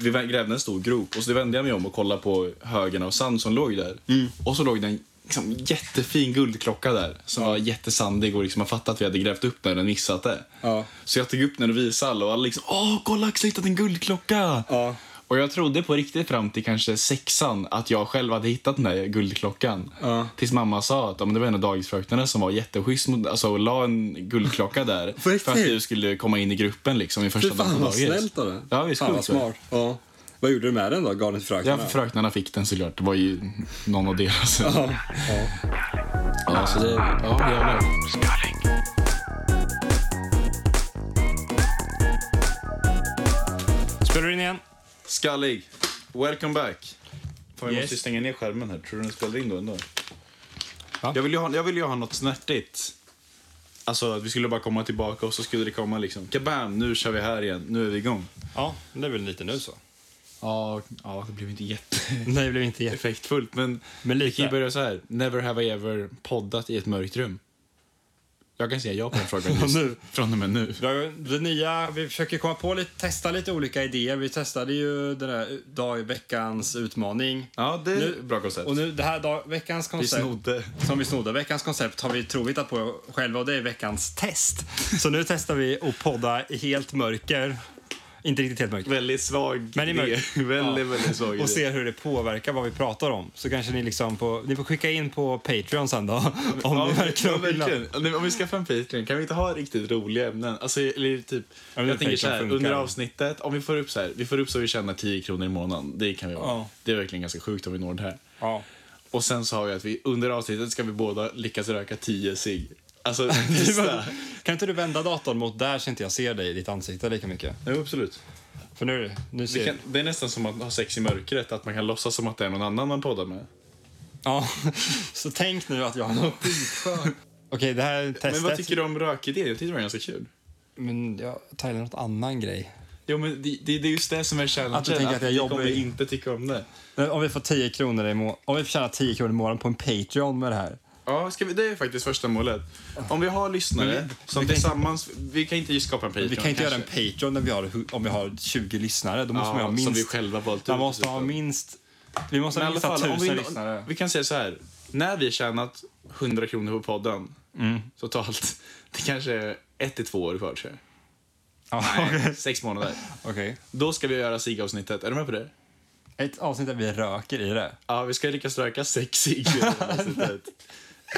Speaker 1: vi vä- grävde en stor grop och så vände jag mig om och kollade på högen av sand som låg där.
Speaker 2: Mm.
Speaker 1: Och så låg det en liksom, jättefin guldklocka där som var jättesandig och liksom, man fattade att vi hade grävt upp den och missat det.
Speaker 2: Ja.
Speaker 1: Så jag tog upp den och visade alla och alla liksom “Åh, kolla Axel hittat en guldklocka!”
Speaker 2: Ja.
Speaker 1: Och jag trodde på riktigt fram till kanske sexan att jag själv hade hittat den där guldklockan.
Speaker 2: Ja.
Speaker 1: Tills mamma sa att ja, men det var en av dagisfröknarna som var jätteschysst mot, alltså, och la en guldklocka där.
Speaker 2: <laughs> På riktigt?
Speaker 1: för att du skulle komma in i gruppen liksom i första
Speaker 2: Fy fan
Speaker 1: på
Speaker 2: vad
Speaker 1: dagis.
Speaker 2: snällt av dig.
Speaker 1: Ja, visst,
Speaker 2: Fan vad
Speaker 1: sjukt, va?
Speaker 2: smart. Ja. Vad gjorde du med den då? Gav den till
Speaker 1: Ja,
Speaker 2: fröknarna?
Speaker 1: för fröknarna fick den såklart. Det var ju någon av deras. Ja,
Speaker 2: Ja. Ja.
Speaker 1: så det... Ja, jävlar.
Speaker 4: Skallig.
Speaker 2: Spelar du in igen?
Speaker 1: Skallig, welcome back. Fan, jag
Speaker 2: Yes.
Speaker 1: måste ju stänga ner skärmen här. Tror du den spelar in då ändå?
Speaker 2: Va?
Speaker 1: Jag vill, ju ha, jag vill ju ha något snärtigt. Alltså att vi skulle bara komma tillbaka och så skulle det komma liksom. Kabam, nu kör vi här igen. Nu är vi igång.
Speaker 2: Ja, det är väl lite nu så.
Speaker 1: Ja, ja det blev inte jätteeffektfullt
Speaker 2: Nej, det blev
Speaker 1: <laughs>
Speaker 2: inte jätte...
Speaker 1: men...
Speaker 2: Men
Speaker 1: Vi kan ju
Speaker 2: lite.
Speaker 1: börja så här. Never have I ever poddat i ett mörkt rum. Jag kan säga <laughs> ja på den frågan just
Speaker 2: nu.
Speaker 1: från och med nu.
Speaker 2: Vi har ju Det nya, vi försöker komma på lite, testa lite olika idéer. Vi testade ju den där dag i veckans utmaning.
Speaker 1: Ja, det är
Speaker 2: Nu-
Speaker 1: bra koncept.
Speaker 2: Och nu det här dag, veckans
Speaker 1: vi
Speaker 2: koncept.
Speaker 1: snodde.
Speaker 2: Som vi snodde. Veckans koncept har vi trovittat på själva och det är veckans test. Så nu testar vi att podda i helt mörker. Inte riktigt helt mörker.
Speaker 1: Väldigt svag
Speaker 2: Men i
Speaker 1: idé. <laughs>
Speaker 2: mörk.
Speaker 1: Väldigt,
Speaker 2: Ja.
Speaker 1: väldigt svag idé.
Speaker 2: Och se hur det påverkar vad vi pratar om. Så kanske ni liksom på, ni får skicka in på Patreon sen då. Om
Speaker 1: Ja,
Speaker 2: ni verkligen
Speaker 1: ja,
Speaker 2: vill.
Speaker 1: verkligen. Om vi- Om vi skaffar en Patreon, kan vi inte ha riktigt roliga ämnen? Alltså, eller typ,
Speaker 2: men
Speaker 1: jag tänker
Speaker 2: Patreon
Speaker 1: så här,
Speaker 2: funkar.
Speaker 1: under avsnittet, om vi får upp så här, vi får upp så vi tjänar 10 kronor i månaden. Det kan vi vara.
Speaker 2: Ja.
Speaker 1: Det är verkligen ganska sjukt om vi når det här.
Speaker 2: Ja.
Speaker 1: Och sen så har vi att vi under avsnittet ska vi båda lyckas röka 10 cigg.
Speaker 2: <laughs>
Speaker 1: Alltså,
Speaker 2: Du
Speaker 1: testa.
Speaker 2: bara- Kan inte du vända datorn mot där så inte jag ser dig i ditt ansikte lika mycket?
Speaker 1: Jo, absolut.
Speaker 2: För nu, nu
Speaker 1: Det,
Speaker 2: ser
Speaker 1: kan, det är nästan som att ha sex i mörkret, att man kan låtsas som att det är någon annan man poddar med.
Speaker 2: Ja, <laughs> så tänk nu att jag har något skitskör. Okej, det här testet.
Speaker 1: Men vad tycker du om rökidén? Jag tyckte det var ganska kul.
Speaker 2: Men jag tar något annan grej.
Speaker 1: Jo, men det, det, det är just det som är challengen.
Speaker 2: Att du tänker att jag
Speaker 1: vi
Speaker 2: jobbar
Speaker 1: kommer
Speaker 2: i-
Speaker 1: inte tycka om det.
Speaker 2: Men om vi får 10 kronor i må- om vi får tjäna 10 kronor i månaden på en Patreon med det här.
Speaker 1: Ja, ska vi, det är faktiskt första målet. Om vi har lyssnare som tillsammans... Vi kan inte ju skapa en Patreon.
Speaker 2: Vi kan inte göra en
Speaker 1: kanske.
Speaker 2: Patreon när vi har, hu- om vi har 20 lyssnare. Då måste man
Speaker 1: ja,
Speaker 2: ha minst...
Speaker 1: Som vi själva valt
Speaker 2: man
Speaker 1: ut. typ.
Speaker 2: måste ha minst... Vi måste
Speaker 1: Men i
Speaker 2: ha
Speaker 1: alla
Speaker 2: minst
Speaker 1: fall,
Speaker 2: 1000
Speaker 1: om vi,
Speaker 2: lyssnare.
Speaker 1: vi kan säga så här. När vi tjänat 100 kronor på podden
Speaker 2: Mm.
Speaker 1: totalt, <laughs> det kanske är ett till två år kvar, tror jag.
Speaker 2: Ja, <laughs>
Speaker 1: Nej, <laughs>
Speaker 2: okej.
Speaker 1: sex månader.
Speaker 2: Okej.
Speaker 1: Då ska vi göra SIG-avsnittet. Är du med på det?
Speaker 2: Ett avsnitt där vi röker i det.
Speaker 1: Ja, vi ska lyckas röka sex
Speaker 2: <laughs>
Speaker 1: SIG i det här avsnittet.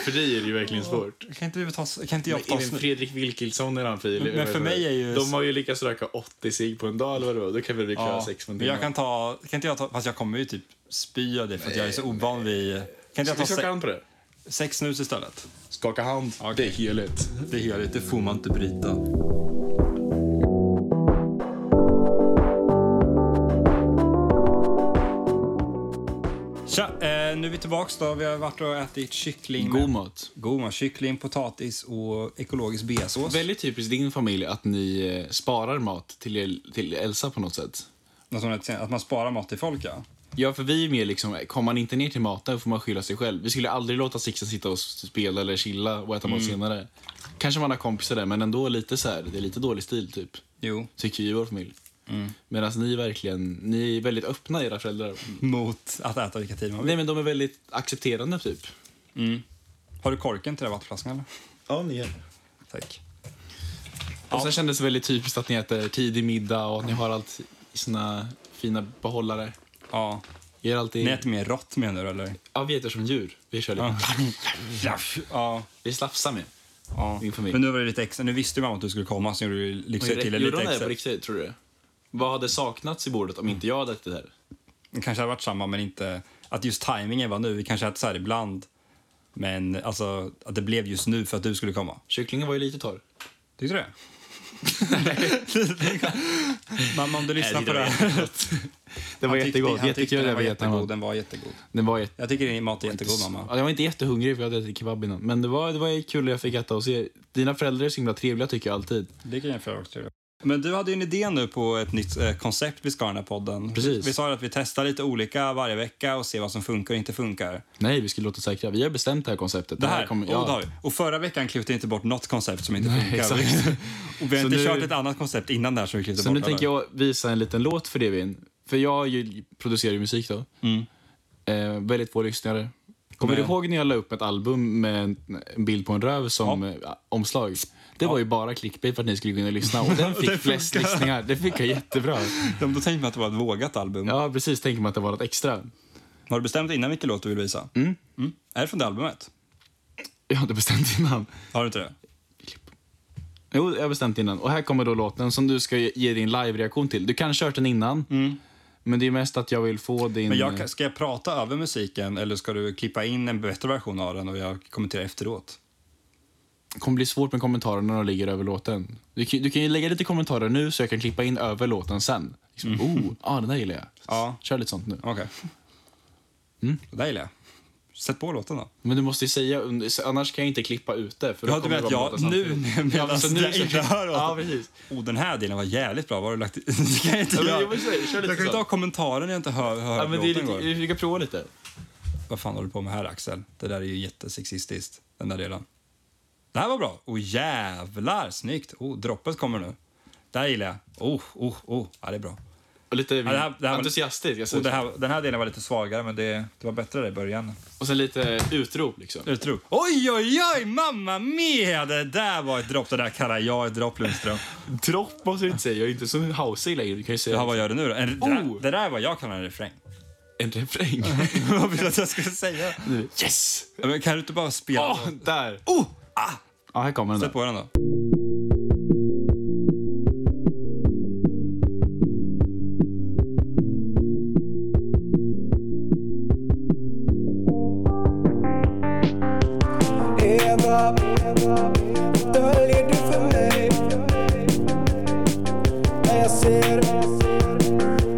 Speaker 1: För dig är det ju verkligen svårt.
Speaker 2: Kan inte, vi ta, kan inte jag ta...
Speaker 1: Även Fredrik Wilkilsson är han fil.
Speaker 2: Men för mig är ju-
Speaker 1: De har ju lyckats röka 80 cigg på en dag eller vad det var. Då kan väl vi klara
Speaker 2: Ja,
Speaker 1: sex på en
Speaker 2: men
Speaker 1: timme.
Speaker 2: jag kan ta... Kan inte jag ta... Fast jag kommer ju typ spy av det för att jag är så ovan vid... Kan inte
Speaker 1: Ska
Speaker 2: jag
Speaker 1: vi
Speaker 2: ta
Speaker 1: skaka
Speaker 2: se,
Speaker 1: hand på det?
Speaker 2: sex snus istället?
Speaker 1: Skaka hand. Det är heligt.
Speaker 2: Det är heligt, det får man inte bryta. Tja, eh, nu är vi tillbaka då. Vi har varit och ätit kyckling. med-
Speaker 1: mat.
Speaker 2: God mat. Kyckling, potatis och ekologisk beasås.
Speaker 1: Väldigt typiskt din familj att ni eh, sparar mat till, el- till Elsa på något sätt.
Speaker 2: Något sånt där, att man sparar mat till folk, ja.
Speaker 1: Ja, för vi är mer liksom, kommer man inte ner till maten får man skylla sig själv. Vi skulle aldrig låta Sixten sitta och spela eller chilla och äta
Speaker 2: Mm.
Speaker 1: mat senare. Kanske man har kompisar där, men ändå lite så här, det är lite dålig stil typ.
Speaker 2: Jo.
Speaker 1: Tycker vi i vår familj.
Speaker 2: Mm.
Speaker 1: Medan ni verkligen, ni är väldigt öppna era föräldrar.
Speaker 2: Mm. Mot att äta vilka tider man vill.
Speaker 1: Nej men de är väldigt accepterande typ.
Speaker 2: Har du korken till den här vattenflaskan eller?
Speaker 1: Ja, ni är.
Speaker 2: Tack.
Speaker 1: Och sen kändes det väldigt typiskt att ni äter tidig middag och att ni har allt i sina fina behållare.
Speaker 2: Ja.
Speaker 1: Vi är alltid...
Speaker 2: Ni äter mer rått menar du eller?
Speaker 1: Ja, vi äter som djur. Vi kör lite.
Speaker 2: Ja. ja.
Speaker 1: <laughs> Vi slafsar med.
Speaker 2: ja.
Speaker 1: Min familj.
Speaker 2: Men nu var det lite extra. Nu visste ju mamma att du skulle komma så gjorde du liksom till det
Speaker 1: Gjorde
Speaker 2: lite
Speaker 1: de det här på
Speaker 2: extra.
Speaker 1: riktigt, tror du? Vad hade saknats i bordet om inte jag hade ätit det här?
Speaker 2: Det kanske hade varit samma men inte att just tajmingen var nu. Vi kanske äter så här ibland. Men alltså att det blev just nu för att du skulle komma.
Speaker 1: Kycklingen var ju lite torr.
Speaker 2: Tyckte du
Speaker 1: <laughs>
Speaker 2: det? Mamma om du lyssnar
Speaker 1: Nej, <laughs>
Speaker 2: på
Speaker 1: det
Speaker 2: det
Speaker 1: var
Speaker 2: här.
Speaker 1: Det var
Speaker 2: Han tyckte-
Speaker 1: jättegott.
Speaker 2: han tyckte
Speaker 1: Jättekul.
Speaker 2: Den
Speaker 1: Jag
Speaker 2: var
Speaker 1: var
Speaker 2: jättegod.
Speaker 1: jättegod.
Speaker 2: Den var jättegod.
Speaker 1: Den var jätte...
Speaker 2: Jag tycker din mat är jättegod mamma.
Speaker 1: Ja, jag var inte jättehungrig för jag hade ätit kebab innan. Men det var, det var kul att jag fick äta hos er. Dina föräldrar är så himla trevliga tycker jag alltid.
Speaker 2: Det kan jag också Men du hade ju en idé nu på ett nytt eh, koncept vi ska ha i den här podden.
Speaker 1: Precis.
Speaker 2: Vi sa ju att vi testar lite olika varje vecka och ser vad som funkar och inte funkar.
Speaker 1: Nej, vi skulle låta säkra. Vi har bestämt det här konceptet.
Speaker 2: Det här,
Speaker 1: kommer-
Speaker 2: oh, det har vi. Och förra veckan klippte jag inte bort något koncept som inte funkar.
Speaker 1: exakt.
Speaker 2: <laughs> Och vi har
Speaker 1: Så
Speaker 2: inte
Speaker 1: nu-
Speaker 2: kört ett annat koncept innan det här som vi klippte
Speaker 1: Så
Speaker 2: bort.
Speaker 1: nu tänker
Speaker 2: eller?
Speaker 1: jag visa en liten låt för dig, Vin. För jag ju, producerar ju musik då.
Speaker 2: Mm.
Speaker 1: Eh, väldigt få lyssnare. Kommer du
Speaker 2: igen.
Speaker 1: ihåg när jag la upp ett album med en, en bild på en röv som eh, omslag? Det var ju bara clickbait för att ni skulle kunna
Speaker 2: <laughs>
Speaker 1: lyssna och den fick flest lyssningar. Det fick jag jättebra.
Speaker 2: Då tänkte man att det var ett vågat album.
Speaker 1: Ja, precis. Tänker man att det var något extra.
Speaker 2: Har du bestämt innan vilken låt du vill visa? Mm. Är det från det albumet?
Speaker 1: Jag hade bestämt innan.
Speaker 2: Har du inte det?
Speaker 1: Jo, jag har bestämt innan. Och här kommer då låten som du ska ge ge din live-reaktion till. Du kan ha kört den innan, men det är mest att jag vill få din...
Speaker 2: Mm. Men jag, ska jag prata över musiken eller ska du klippa in en bättre version av den och jag kommenterar efteråt?
Speaker 1: Det kommer bli svårt med kommentarerna när de ligger över låten. Du, kan- du kan ju lägga lite kommentarer nu så jag kan klippa in över låten sen. Liksom, oh, ah, den där gillar jag.
Speaker 2: Mm. <laughs> Ja.
Speaker 1: Kör lite sånt nu.
Speaker 2: Okej. Mm, Det där gillar jag. Sätt på låten då.
Speaker 1: Men du måste ju säga, under- annars kan jag inte klippa ut det. För då
Speaker 2: Ja, du
Speaker 1: kommer
Speaker 2: menar
Speaker 1: det vara
Speaker 2: att
Speaker 1: båda
Speaker 2: jag nu
Speaker 1: samtidigt.
Speaker 2: medan
Speaker 1: men så
Speaker 2: jag
Speaker 1: så-
Speaker 2: inte
Speaker 1: <laughs>
Speaker 2: hör
Speaker 1: Ja,
Speaker 2: låten.
Speaker 1: precis.
Speaker 2: Oh, den här delen var jävligt bra. Vad har du lagt i? <laughs> Det kan jag inte
Speaker 1: Ja, men
Speaker 2: göra.
Speaker 1: jag vill säga, kör lite
Speaker 2: jag kan ju
Speaker 1: så.
Speaker 2: inte ha kommentarer när jag inte hör hur
Speaker 1: Ja, men det är
Speaker 2: låten
Speaker 1: lite,
Speaker 2: går.
Speaker 1: vi kan prova lite.
Speaker 2: Vad fan håller du på med här, Axel? Det där är ju jättesexistiskt, den där delen. Det här var bra. Oh, jävlar, snyggt. Oh, droppet kommer nu. Det här gillar jag. Oh, oh, oh. Ja, det är bra.
Speaker 1: Och lite
Speaker 2: det här- det här var-
Speaker 1: entusiastiskt. Jag ser-
Speaker 5: Och det här, den här delen var lite svagare, men det, det var bättre där i början.
Speaker 1: Och sen lite utrop liksom.
Speaker 2: Utrop. Oj, oj, oj, mamma mia! Det där var ett dropp. Det där kallar jag ett dropp, Lundström.
Speaker 1: Dropp måste du inte säga. Jag är inte så hausig längre. Du kan ju säga
Speaker 2: Jaha, vad gör du nu då? En, det,
Speaker 1: Oh!
Speaker 2: där, det där var jag kallar en refräng. <laughs>
Speaker 1: en refräng.
Speaker 2: Vad vill du att jag ska säga?
Speaker 1: yes!
Speaker 2: Ja, Men kan du inte bara spela?
Speaker 1: Åh, där!
Speaker 2: Oh!
Speaker 1: Ja, här kommer den
Speaker 2: Sätt
Speaker 1: där.
Speaker 2: på den då.
Speaker 6: Eva, döljer du för mig? Men jag ser,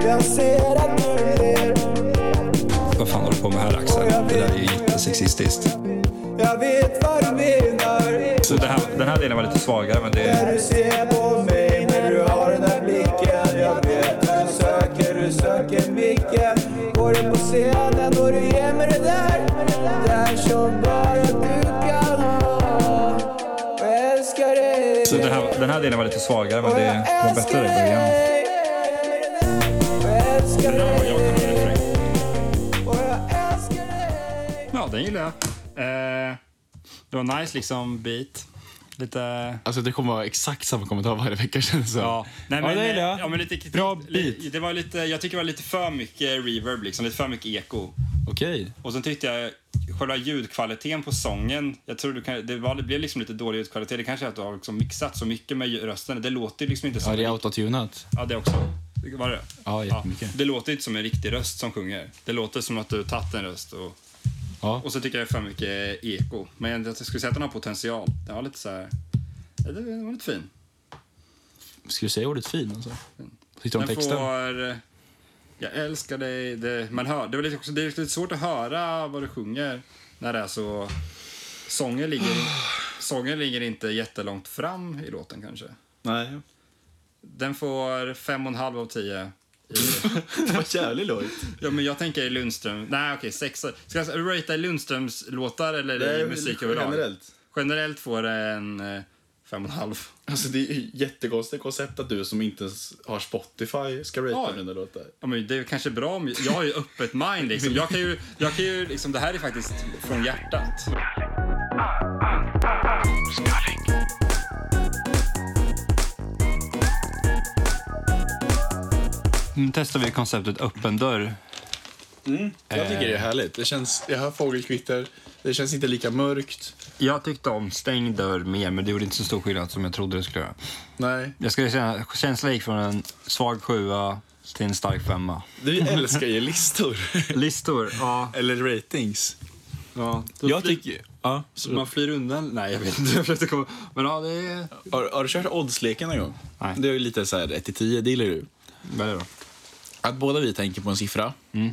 Speaker 6: jag ser att du ler.
Speaker 2: Vad fan håller du på med här, Axel? Det där är ju jättesexistiskt.
Speaker 6: Jag vet vad du menar.
Speaker 5: Så det här, den här delen var lite svagare, men det...
Speaker 6: När du ser på mig, när du har den där blicken. Jag vet hur du söker, du söker micken. Går in på scenen och du ger mig det där. Det där som bara du kan ha. Och jag älskar dig.
Speaker 5: Så det här, den här delen var lite svagare, men det, det var bättre där i början.
Speaker 6: början.
Speaker 2: Ja, den gillar jag. Eh, det var nice liksom beat. Lite...
Speaker 1: Alltså det kommer vara exakt samma kommentar varje vecka känns det som.
Speaker 2: Ja, nej, men, eh,
Speaker 1: ja, det gillar jag.
Speaker 2: ja, men lite kritik.
Speaker 1: Bra
Speaker 2: li-
Speaker 1: beat.
Speaker 2: Det var lite, jag tycker det var lite för mycket reverb, liksom, lite för mycket eko.
Speaker 1: Okej.
Speaker 2: Och sen tyckte jag själva ljudkvaliteten på sången, jag tror du kan, det, var, det blev liksom lite dålig ljudkvalitet. Det kanske är att du har liksom mixat så mycket med rösten. Det låter ju liksom inte som...
Speaker 1: Ja, det är autotunat.
Speaker 2: Ja, det också. Var det?
Speaker 1: Ja, jättemycket.
Speaker 2: Det låter inte som en riktig röst som sjunger. Det låter som att du har tagit en röst och
Speaker 1: Ja.
Speaker 2: Och så tycker jag det är för mycket eko. Men jag skulle säga att den har potential. Den har lite så här... ja, Den var lite fin.
Speaker 1: Ska du säga ordet fin alltså? Tyckte du om
Speaker 2: Den
Speaker 1: texten?
Speaker 2: får... eh, Jag älskar dig. Det, man hör, det, var lite, också, det är lite svårt att höra vad du sjunger när det är så... Sången ligger, sången ligger inte jättelångt fram i låten kanske.
Speaker 1: Nej.
Speaker 2: Den får fem och en halv av tio
Speaker 1: Det var jävligt lågt.
Speaker 2: Ja, men jag tänker Lundström. Nej, okej, sexa. Ska jag ratea Lundströms låtar eller
Speaker 1: Nej,
Speaker 2: musik
Speaker 1: men
Speaker 2: överlag?
Speaker 1: generellt.
Speaker 2: Generellt får det en eh, fem och en halv.
Speaker 1: Alltså det är ju jättekonstigt koncept att du som inte ens har Spotify ska
Speaker 2: Ja.
Speaker 1: ratea dina låtar.
Speaker 2: Ja, men det är kanske bra om... Jag har ju öppet mind liksom. Jag kan ju... Jag kan ju liksom det här är faktiskt från hjärtat. Nu testar vi konceptet öppen dörr.
Speaker 1: Jag tycker det är härligt. Det känns, jag hör fågelkvitter, det känns inte lika mörkt.
Speaker 2: Jag tyckte om stängd dörr mer, men det gjorde inte så stor skillnad som jag trodde det skulle göra.
Speaker 1: Nej.
Speaker 2: Jag skulle säga känslan gick från en svag sjua till en stark femma.
Speaker 1: Vi älskar ju listor.
Speaker 2: Listor? Ja.
Speaker 1: <laughs> Eller ratings.
Speaker 2: ja.
Speaker 1: Jag tycker... Ja,
Speaker 2: Man flyr undan? Nej, jag vet inte. <laughs> Jag försökte komma... Men ja, det är...
Speaker 1: har, har du kört oddsleken någon gång?
Speaker 2: Nej.
Speaker 1: Det är ju lite så här 1-10, det gillar du.
Speaker 2: Vad är det då?
Speaker 1: Att båda vi tänker på en siffra.
Speaker 2: Mm.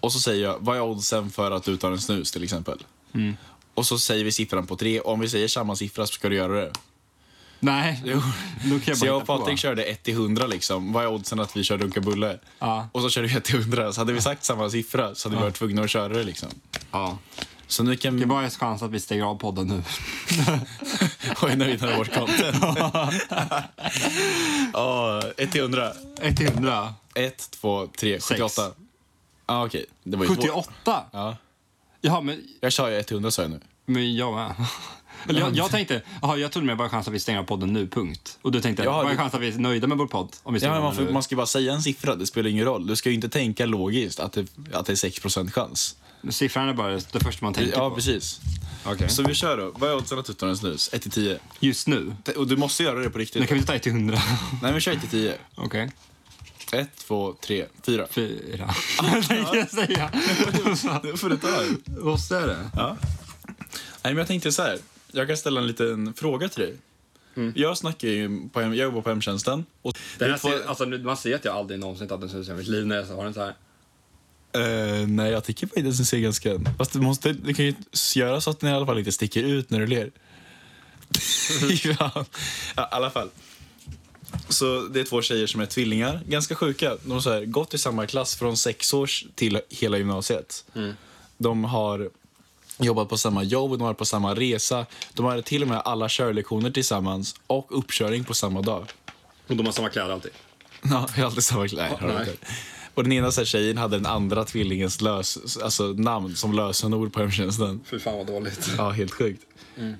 Speaker 1: Och så säger jag, vad är oddsen för att du tar en snus till exempel?
Speaker 2: Mm.
Speaker 1: Och så säger vi siffran på tre. Om vi säger samma siffra så ska du göra det. <laughs>
Speaker 2: Nej, jo. då kan jag
Speaker 1: Så
Speaker 2: bara
Speaker 1: jag och
Speaker 2: hitta på.
Speaker 1: Patrik körde 1 till 100 liksom. Vad är oddsen att vi kör Dunka Bulle?
Speaker 2: Ja.
Speaker 1: Och så körde vi 1 till 100. Så hade vi sagt samma siffra så hade vi varit tvungna att köra det liksom.
Speaker 2: Ja.
Speaker 1: Så nu kan
Speaker 2: Det
Speaker 1: vi <laughs>
Speaker 2: är bara en chans att vi stänger av podden nu. <laughs>
Speaker 1: och är nöjda med vårt content. Ja, 1 till 100.
Speaker 2: 100.
Speaker 1: 1, 2, 3, 78. Ja, ah, okej. Det var ju två.
Speaker 2: 78?
Speaker 1: Ja.
Speaker 2: Jaha, men,
Speaker 1: Jag kör ju 1 till 100 sa jag nu.
Speaker 2: men jag med. <laughs> Eller jag, jag tänkte, jaha, jag trodde mer bara en chans att vi stänger av podden nu, punkt. Och du tänkte,
Speaker 1: Ja,
Speaker 2: bara en
Speaker 1: det-
Speaker 2: chans att vi är nöjda med vår podd om vi
Speaker 1: Ja,
Speaker 2: stänger
Speaker 1: men man,
Speaker 2: av
Speaker 1: får,
Speaker 2: den nu.
Speaker 1: man ska ju bara säga en siffra, det spelar ingen roll. Du ska ju inte tänka logiskt att det, att det är 6 chans.
Speaker 2: Siffran är bara det första man tänker
Speaker 1: Ja,
Speaker 2: på.
Speaker 1: precis.
Speaker 2: Okej.
Speaker 1: Så vi kör då. Vad är oddsen att du tar en snus? 1 till 10.
Speaker 2: Just nu.
Speaker 1: Och du måste göra det på
Speaker 2: Nu
Speaker 1: riktigt.
Speaker 2: kan vi inte ta 1 till 100.
Speaker 1: Nej, men kör 1 till 10.
Speaker 2: <laughs> Okej.
Speaker 1: 1, 2, 3, 4.
Speaker 2: Fyra. <laughs> Tänkte jag säga.
Speaker 1: Nu får du ta <laughs> det.
Speaker 2: Måste jag det?
Speaker 1: Nej, men jag tänkte så här. Jag kan ställa en liten fråga till dig. Jag snackar ju på, hem, jag jobbar på hemtjänsten. Och
Speaker 2: Den här
Speaker 1: vi får-
Speaker 2: ser, alltså, nu- man ser att jag aldrig någonsin tagit en snus i hela mitt liv när jag har den så här.
Speaker 1: Eh, nej, jag tycker faktiskt att den ser ganska... Fast du, måste, du kan ju göra så att den i alla fall inte sticker ut när du ler. <laughs> ja, i alla fall. Så det är två tjejer som är tvillingar, ganska sjuka. De har så här, gått i samma klass från sex års till hela gymnasiet. De har jobbat på samma jobb, de har varit på samma resa. De har till och med alla körlektioner tillsammans och uppkörning på samma dag.
Speaker 2: Och de har samma kläder alltid.
Speaker 1: <laughs> Ja, vi har aldrig samma kläder. Nej, det har vi inte. Och den ena så här, tjejen hade den andra tvillingens lös, alltså, namn som lösenord på hemtjänsten.
Speaker 2: Fy fan vad dåligt.
Speaker 1: Ja, helt sjukt. I
Speaker 2: Mm.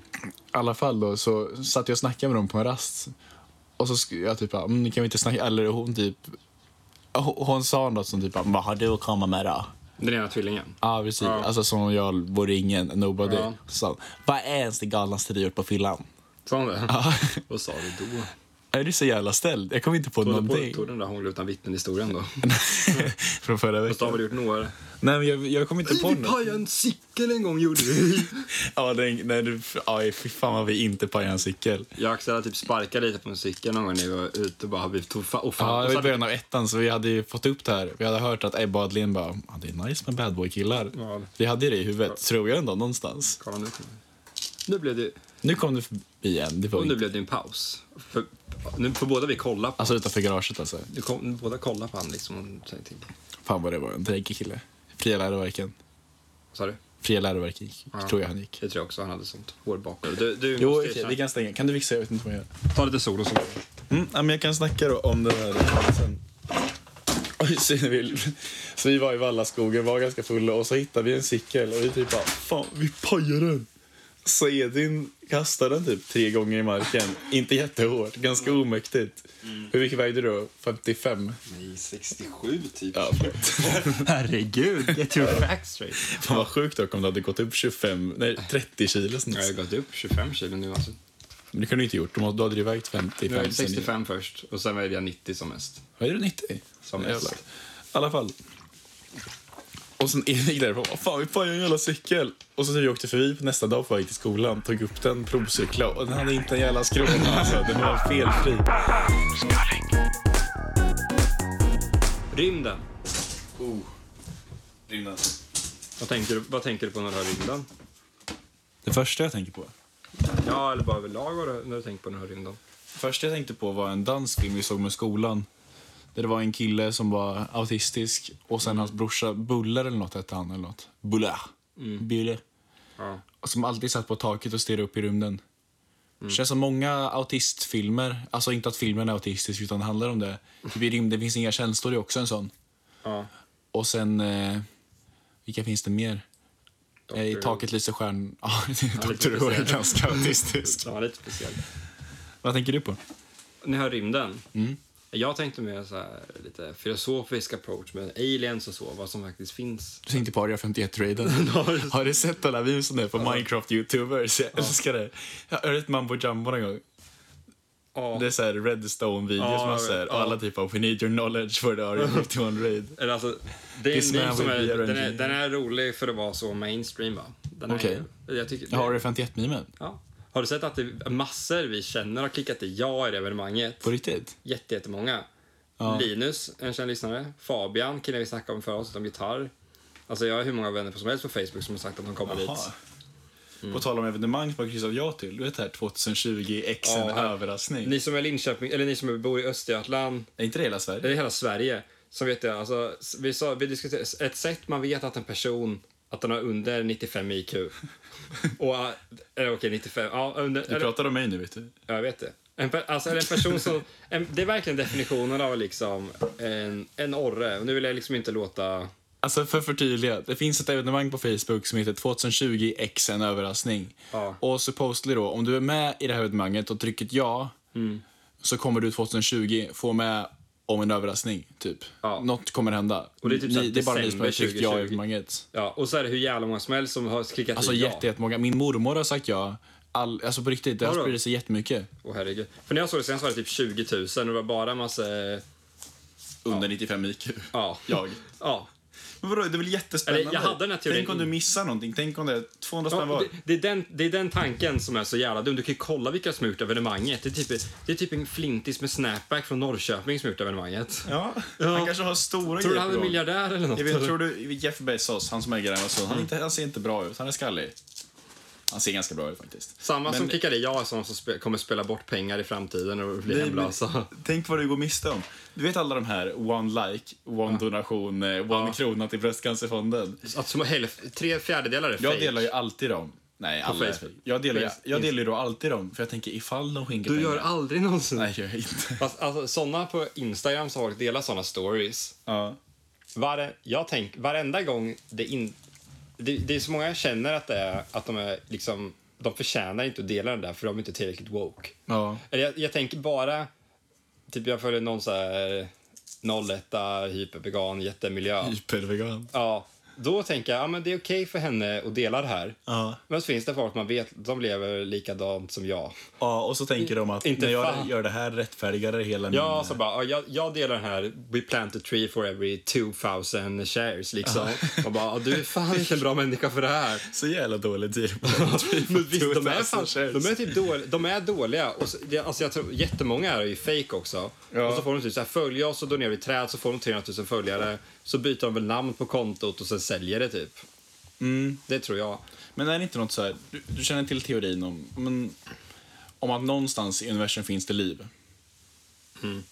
Speaker 1: alla fall då så satt jag och snackade med dem på en rast. Och så sk- jag typ bara, "Mm, kan vi inte snacka? Eller hon typ, hon, hon sa något som typ, bara, vad har du att komma med då?
Speaker 2: <laughs> Den ena tvillingen.
Speaker 1: Ja, precis.
Speaker 2: Ja.
Speaker 1: Alltså som om jag vore ingen nobody.
Speaker 2: Ja.
Speaker 1: Så sa hon, vad är ens det galnaste du gjort på fyllan?
Speaker 2: Sa hon det?
Speaker 1: Ja.
Speaker 2: <laughs> Vad sa du då?
Speaker 1: Är du så jävla ställd? Jag kommer inte på
Speaker 2: Tog du
Speaker 1: någonting.
Speaker 2: på, tog den där hångla utan vittnen-historien då?
Speaker 1: <laughs> Från förra
Speaker 2: Fast då
Speaker 1: veckan.
Speaker 2: har väl gjort några...
Speaker 1: Nej, men jag, jag kommer inte på något.
Speaker 2: en cykel en gång gjorde vi!
Speaker 1: Ja, den, nej, du, aj, fy fan vad vi inte pajade en cykel.
Speaker 2: <laughs> Jag och Axel hade typ sparkat lite på en cykel någon gång när vi var ute och bara vi tog fa- och fan.
Speaker 1: Ja,
Speaker 2: och
Speaker 1: det var
Speaker 2: så
Speaker 1: i
Speaker 2: hade-
Speaker 1: början av ettan, så vi hade ju fått upp det här. Vi hade hört att Ebba och Adeline bara, ja, det är nice med badboy-killar.
Speaker 2: Ja.
Speaker 1: Vi hade ju det i huvudet, tror jag ändå, någonstans.
Speaker 2: Kolla nu. Nu blev det,
Speaker 1: Nu kom du förbi en, det var
Speaker 2: och nu
Speaker 1: inte.
Speaker 2: blev det en paus. För, nu får båda vi kolla på.
Speaker 1: Alltså utanför garaget alltså.
Speaker 2: Nu kom, nu båda kolla på han liksom. och tänkte-
Speaker 1: Fan vad det var en dräggig kille. Fria läroverken.
Speaker 2: Vad sa du?
Speaker 1: Fria läroverken gick,
Speaker 2: Ja.
Speaker 1: tror jag han gick.
Speaker 2: Det tror jag också. Han hade sånt hår bakåt. Du, du
Speaker 1: Jo,
Speaker 2: måste
Speaker 1: okej,
Speaker 2: erkänna-
Speaker 1: vi kan stänga. Kan du fixa? Jag vet inte vad jag gör.
Speaker 2: ta lite sol och så.
Speaker 1: Mm, ja, men jag kan snacka då om den här reklamen. Oj, så, vi, så vi var i Vallaskogen, var ganska fulla och så hittade vi en cykel och vi typ bara, fan vi pajar den. Så Edvin kastade den typ tre gånger i marken. Inte jättehårt, ganska omäktigt.
Speaker 2: Mm.
Speaker 1: Hur mycket vägde du då? 55?
Speaker 2: Nej, 67 typ.
Speaker 1: Ja, förlåt.
Speaker 2: <laughs> Herregud, get your facts straight.
Speaker 1: Fan vad sjukt dock om du hade gått upp 25, nej 30 kilo
Speaker 2: Jag har
Speaker 1: snus.
Speaker 2: ju gått upp 25 kilo nu alltså.
Speaker 1: Men det kunde du inte gjort, då hade du vägt 50.
Speaker 2: Nu är jag
Speaker 1: 50.
Speaker 2: 65 först och sen var jag 90 som mest.
Speaker 1: Vad är du 90?
Speaker 2: Som
Speaker 1: Jävlar.
Speaker 2: mest.
Speaker 1: I alla fall. Och sen gick därifrån. Vad fan, vi pajade en jävla cykel. Och så när vi åkte förbi på nästa dag på väg till skolan. Tog upp den, provcykla och den hade inte en jävla <laughs> skrona. Alltså, den var felfri.
Speaker 2: Rymden.
Speaker 1: Oh, Rymden.
Speaker 2: Vad tänker, du, vad tänker du på när du hör rymden?
Speaker 1: Det första jag tänker på.
Speaker 2: Ja, eller bara överlag vad du- när du tänker på när du hör rymden.
Speaker 1: Det första jag tänkte på var en dansfilm vi såg med skolan. Där det var en kille som var autistisk och
Speaker 2: Mm.
Speaker 1: sen hans brorsa Buller eller något hette han eller något. Buller. Buller.
Speaker 2: Mm. Ja.
Speaker 1: Som alltid satt på taket och stirrade upp i rymden.
Speaker 2: Mm.
Speaker 1: Känns som många autistfilmer, alltså inte att filmen är autistisk utan det handlar om det. Typ i rymden finns inga känslor, det är också en sån.
Speaker 2: Ja.
Speaker 1: Och sen, eh, vilka finns det mer? Eh, I
Speaker 2: Who.
Speaker 1: taket lyser stjärn... <laughs> Ja, Dr.
Speaker 2: lite
Speaker 1: Who är
Speaker 2: speciell.
Speaker 1: ganska autistisk.
Speaker 2: <laughs> Den var lite speciell.
Speaker 1: Vad tänker du på?
Speaker 2: Ni hör rymden. Jag tänkte mer så här, lite filosofisk approach med aliens och så, vad som faktiskt finns.
Speaker 1: Du tänkte på Area <laughs> 51-raiden. Har du sett alla videorna på Minecraft-youtubers? Jag älskar det. Jag hörde ett Mambo Jumbo en gång.
Speaker 2: Ja.
Speaker 1: Det är så här Redstone-videos
Speaker 2: Ja,
Speaker 1: man
Speaker 2: jag
Speaker 1: ser.
Speaker 2: vet.
Speaker 1: Och alla typ av “We need your knowledge for the Area 51-raid”.
Speaker 2: Eller alltså, det är
Speaker 1: This
Speaker 2: en
Speaker 1: man
Speaker 2: meme som
Speaker 1: will
Speaker 2: är,
Speaker 1: be a
Speaker 2: den, är,
Speaker 1: engineer.
Speaker 2: den är rolig för att vara så mainstream. Va? Den är-
Speaker 1: Okej.
Speaker 2: jag tycker,
Speaker 1: Jag har Area 51-memen.
Speaker 2: ja. har du sett att det är massor vi känner har klickat i ja i det evenemanget?
Speaker 1: På riktigt?
Speaker 2: Jätte, jättemånga. Linus, en känd lyssnare. Fabian, killen vi snackade om förra avsnittet om gitarr. Alltså jag har hur många vänner som helst på Facebook som har sagt att de kommer dit.
Speaker 1: Jaha. På tal om evenemang som man kryssat ja till. Du vet det här 2020 X, en
Speaker 2: Ja, här-
Speaker 1: överraskning.
Speaker 2: Ni som är Linköping, eller ni som bor i Östergötland,
Speaker 1: Är inte det hela Sverige?
Speaker 2: eller hela Sverige, så vet jag, alltså, vi, sa, vi diskuterade, ett sätt man vet att en person, att den har under 95 IQ.
Speaker 1: <laughs>
Speaker 2: Och, äh, eller okej, 95, ja, under,
Speaker 1: Du
Speaker 2: eller,
Speaker 1: pratar om mig nu, vet du.
Speaker 2: ja, jag vet det. En, per- alltså, eller en person som, en, det är verkligen definitionen av liksom en, en orre. Och Nu vill jag liksom inte låta,
Speaker 1: Alltså för att förtydliga, det finns ett evenemang på Facebook som heter 2020 X en överraskning.
Speaker 2: Ja.
Speaker 1: Och supposedly då, om du är med i det här evenemanget och trycker ja, så kommer du 2020 få med om en överrassning, typ.
Speaker 2: Ja.
Speaker 1: Något kommer hända.
Speaker 2: Och det är typ så här
Speaker 1: det är bara ni som har
Speaker 2: december
Speaker 1: tryckt ja i
Speaker 2: 2020.
Speaker 1: evenemanget.
Speaker 2: ja, och så är det hur jävla många som helst som har klickat
Speaker 1: Alltså
Speaker 2: i ja.
Speaker 1: jätte, jättemånga. Min mormor har sagt ja. All, alltså på riktigt, det har
Speaker 2: Vadå?
Speaker 1: spridit sig jättemycket.
Speaker 2: Åh herregud. För när jag såg det senast var det typ 20 000 och det var bara en massa, eh,
Speaker 1: Under 95 IQ.
Speaker 2: ja.
Speaker 1: Jag.
Speaker 2: Ja.
Speaker 1: Men vadå, det är väl jättespännande?
Speaker 2: Eller, jag hade den här teorin
Speaker 1: Tänk om du missar någonting? Tänk om det är 200 spänn
Speaker 2: Ja,
Speaker 1: var?
Speaker 2: det, det, är den, det är den tanken som är så jävla dum. Du kan ju kolla vilka som har gjort evenemanget. Det är typ, det är typ en flintis med snapback från Norrköping som har gjort evenemanget.
Speaker 1: Ja.
Speaker 2: Ja.
Speaker 1: Han kanske har stora
Speaker 2: Tror du
Speaker 1: grejer
Speaker 2: han
Speaker 1: på
Speaker 2: är
Speaker 1: gång.
Speaker 2: miljardär eller något?
Speaker 1: Jag vet, tror du Jeff Bezos, han som äger Amazon, han, är inte, han ser inte bra ut. Han är skallig. Han ser ganska bra ut faktiskt.
Speaker 2: Samma som
Speaker 1: Men-
Speaker 2: klickar i ja är sådana som spe, kommer spela bort pengar i framtiden och bli
Speaker 1: Nej, men
Speaker 2: hemlösa.
Speaker 1: Tänk vad du går miste om. Du vet alla de här one like, one donation, eh, one krona till bröstcancerfonden.
Speaker 2: Att som hälf, tre fjärdedelar är
Speaker 1: Jag
Speaker 2: fake.
Speaker 1: delar ju alltid dem. Nej, alla.
Speaker 2: Facebook.
Speaker 1: Jag delar, ju-
Speaker 2: Inst-
Speaker 1: jag delar ju då alltid dem, för jag tänker ifall de skänker
Speaker 2: Du
Speaker 1: pengar.
Speaker 2: gör aldrig någonsin.
Speaker 1: Nej, <laughs> jag gör inte.
Speaker 2: Fast, alltså, sådana på Instagram som folk delar sådana stories.
Speaker 1: Ja.
Speaker 2: Vare, jag tänk, varenda gång det in... Det, det är så många jag känner att det är att de är liksom... De förtjänar inte att dela den där för de är inte tillräckligt woke.
Speaker 1: ja.
Speaker 2: Eller jag, jag tänker bara... Typ jag följer någon så här 01 hypervegan jättemiljö.
Speaker 1: Hypervegan.
Speaker 2: Ja, då tänker jag, ja men det är okej för henne att dela det här.
Speaker 1: Ja.
Speaker 2: Men så finns det folk man vet, de lever likadant som jag.
Speaker 1: ja, och så tänker de att
Speaker 2: Inte
Speaker 1: när jag
Speaker 2: fan.
Speaker 1: gör det här rättfärdigar det hela
Speaker 2: Ja, så bara, ja, jag, jag delar den här We plant a tree for every 2000 shares liksom. <laughs> Och bara, ja, du är fan vilken bra människa för det <laughs> här.
Speaker 1: Så jävla dålig deal.
Speaker 2: <laughs> Men visst, de är, fan,
Speaker 1: 2000 shares.
Speaker 2: de är, typ dåliga, de är dåliga. Och så, det, alltså jag tror, jättemånga är ju fake också.
Speaker 1: Ja.
Speaker 2: Och så får de typ så här, följa oss och donerar vi träd så får de 300 000 följare. Så byter de väl namn på kontot och sen säljer det typ. Det tror jag.
Speaker 1: Men är det inte något så här, du, du känner till teorin om, men, om att någonstans i universum finns det liv?